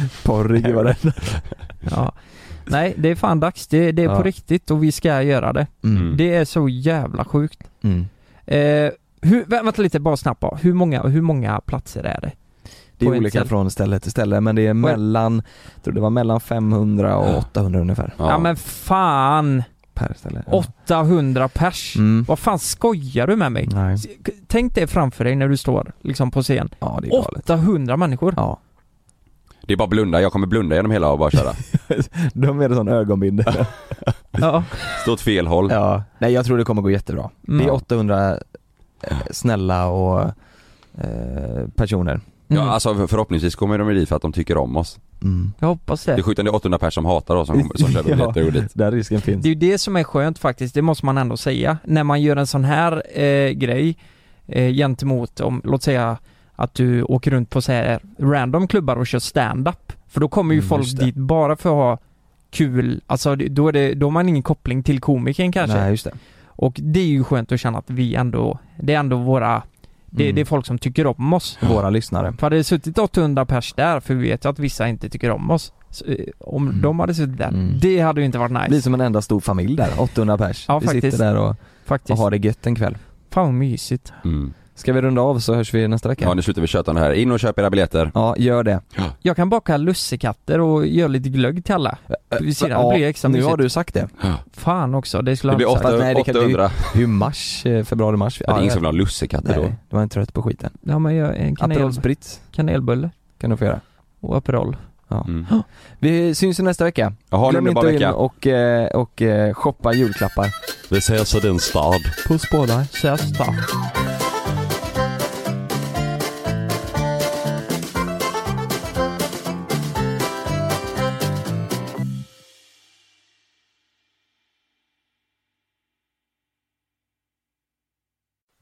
jätteporrig i varenda. Ja. Nej, det är fan dags. Det, det är på Ja. riktigt och vi ska göra det. Mm. Det är så jävla sjukt. Mm. Eh, hur, vä- vänta lite, bara snabbt bara. Hur många, hur många platser är det? Det är På ett olika ställe. från ställe till ställe men det är mellan, jag tror det var mellan 500 och 800 ungefär Ja, men fan! per ställe. 800 pers! Mm. Vad fan skojar du med mig? Nej. S- k- Tänk det framför dig när du står liksom på scen. Ja det är galet. 800 människor! Ja. Det är bara blunda, jag kommer blunda genom hela och bara köra. De är det sån ögonbindel. Ja. Stå åt fel håll. ja. Nej jag tror det kommer gå jättebra. Mm. Det är 800 eh, snälla och eh, personer. Ja, Mm. alltså för- förhoppningsvis kommer de ju dit för att de tycker om oss. Mm. Jag hoppas Det är det. sjukt om det är 800 personer som hatar oss som, kommer- som köper biljetter och går dit. Den risken finns. Det är ju det som är skönt faktiskt, det måste man ändå säga. När man gör en sån här eh, grej eh, gentemot, om, låt säga att du åker runt på så här random klubbar och kör stand-up. För då kommer ju Mm, folk just det. dit bara för att ha kul, alltså det- då, är det, då har man ingen koppling till komikern kanske. Nej just det. Och det är ju skönt att känna att vi ändå, det är ändå våra, det, Mm. det är folk som tycker om oss. Våra lyssnare. För hade det suttit 800 pers där, för vi vet ju att vissa inte tycker om oss. Så, eh, om Mm. de hade suttit där, Mm. det hade ju inte varit nice. Vi är som en enda stor familj där, 800 pers. Ja, vi faktiskt. sitter där och, och faktiskt. har det gött en kväll. Fan vad mysigt. Mm. Ska vi runda av så hörs vi nästa vecka? Ja nu slutar vi köta om det här. In och köp era biljetter. Ja, gör det. Jag kan baka lussekatter och göra lite glögg till alla. Vid sidan Ja, blir det extra nu mysigt. har du sagt det. Fan också, det skulle Det han blir ha sagt. Fast nej, 800. det kan- det är ju- Det är ju mars, eh, februari-mars. Ja, det är ingen som vill ha lussekatter Nej, då. nej, du var inte trött på skiten. Ja men jag, en Aperol kanel, Spritz kanelbulle kan du få göra. och Aperol. Mm. Vi syns ju nästa vecka. Jaha, en Glöm underbar inte att in vecka. och, eh, och eh, shoppa julklappar. Vi ses i din stad. Puss på dig. Sesta.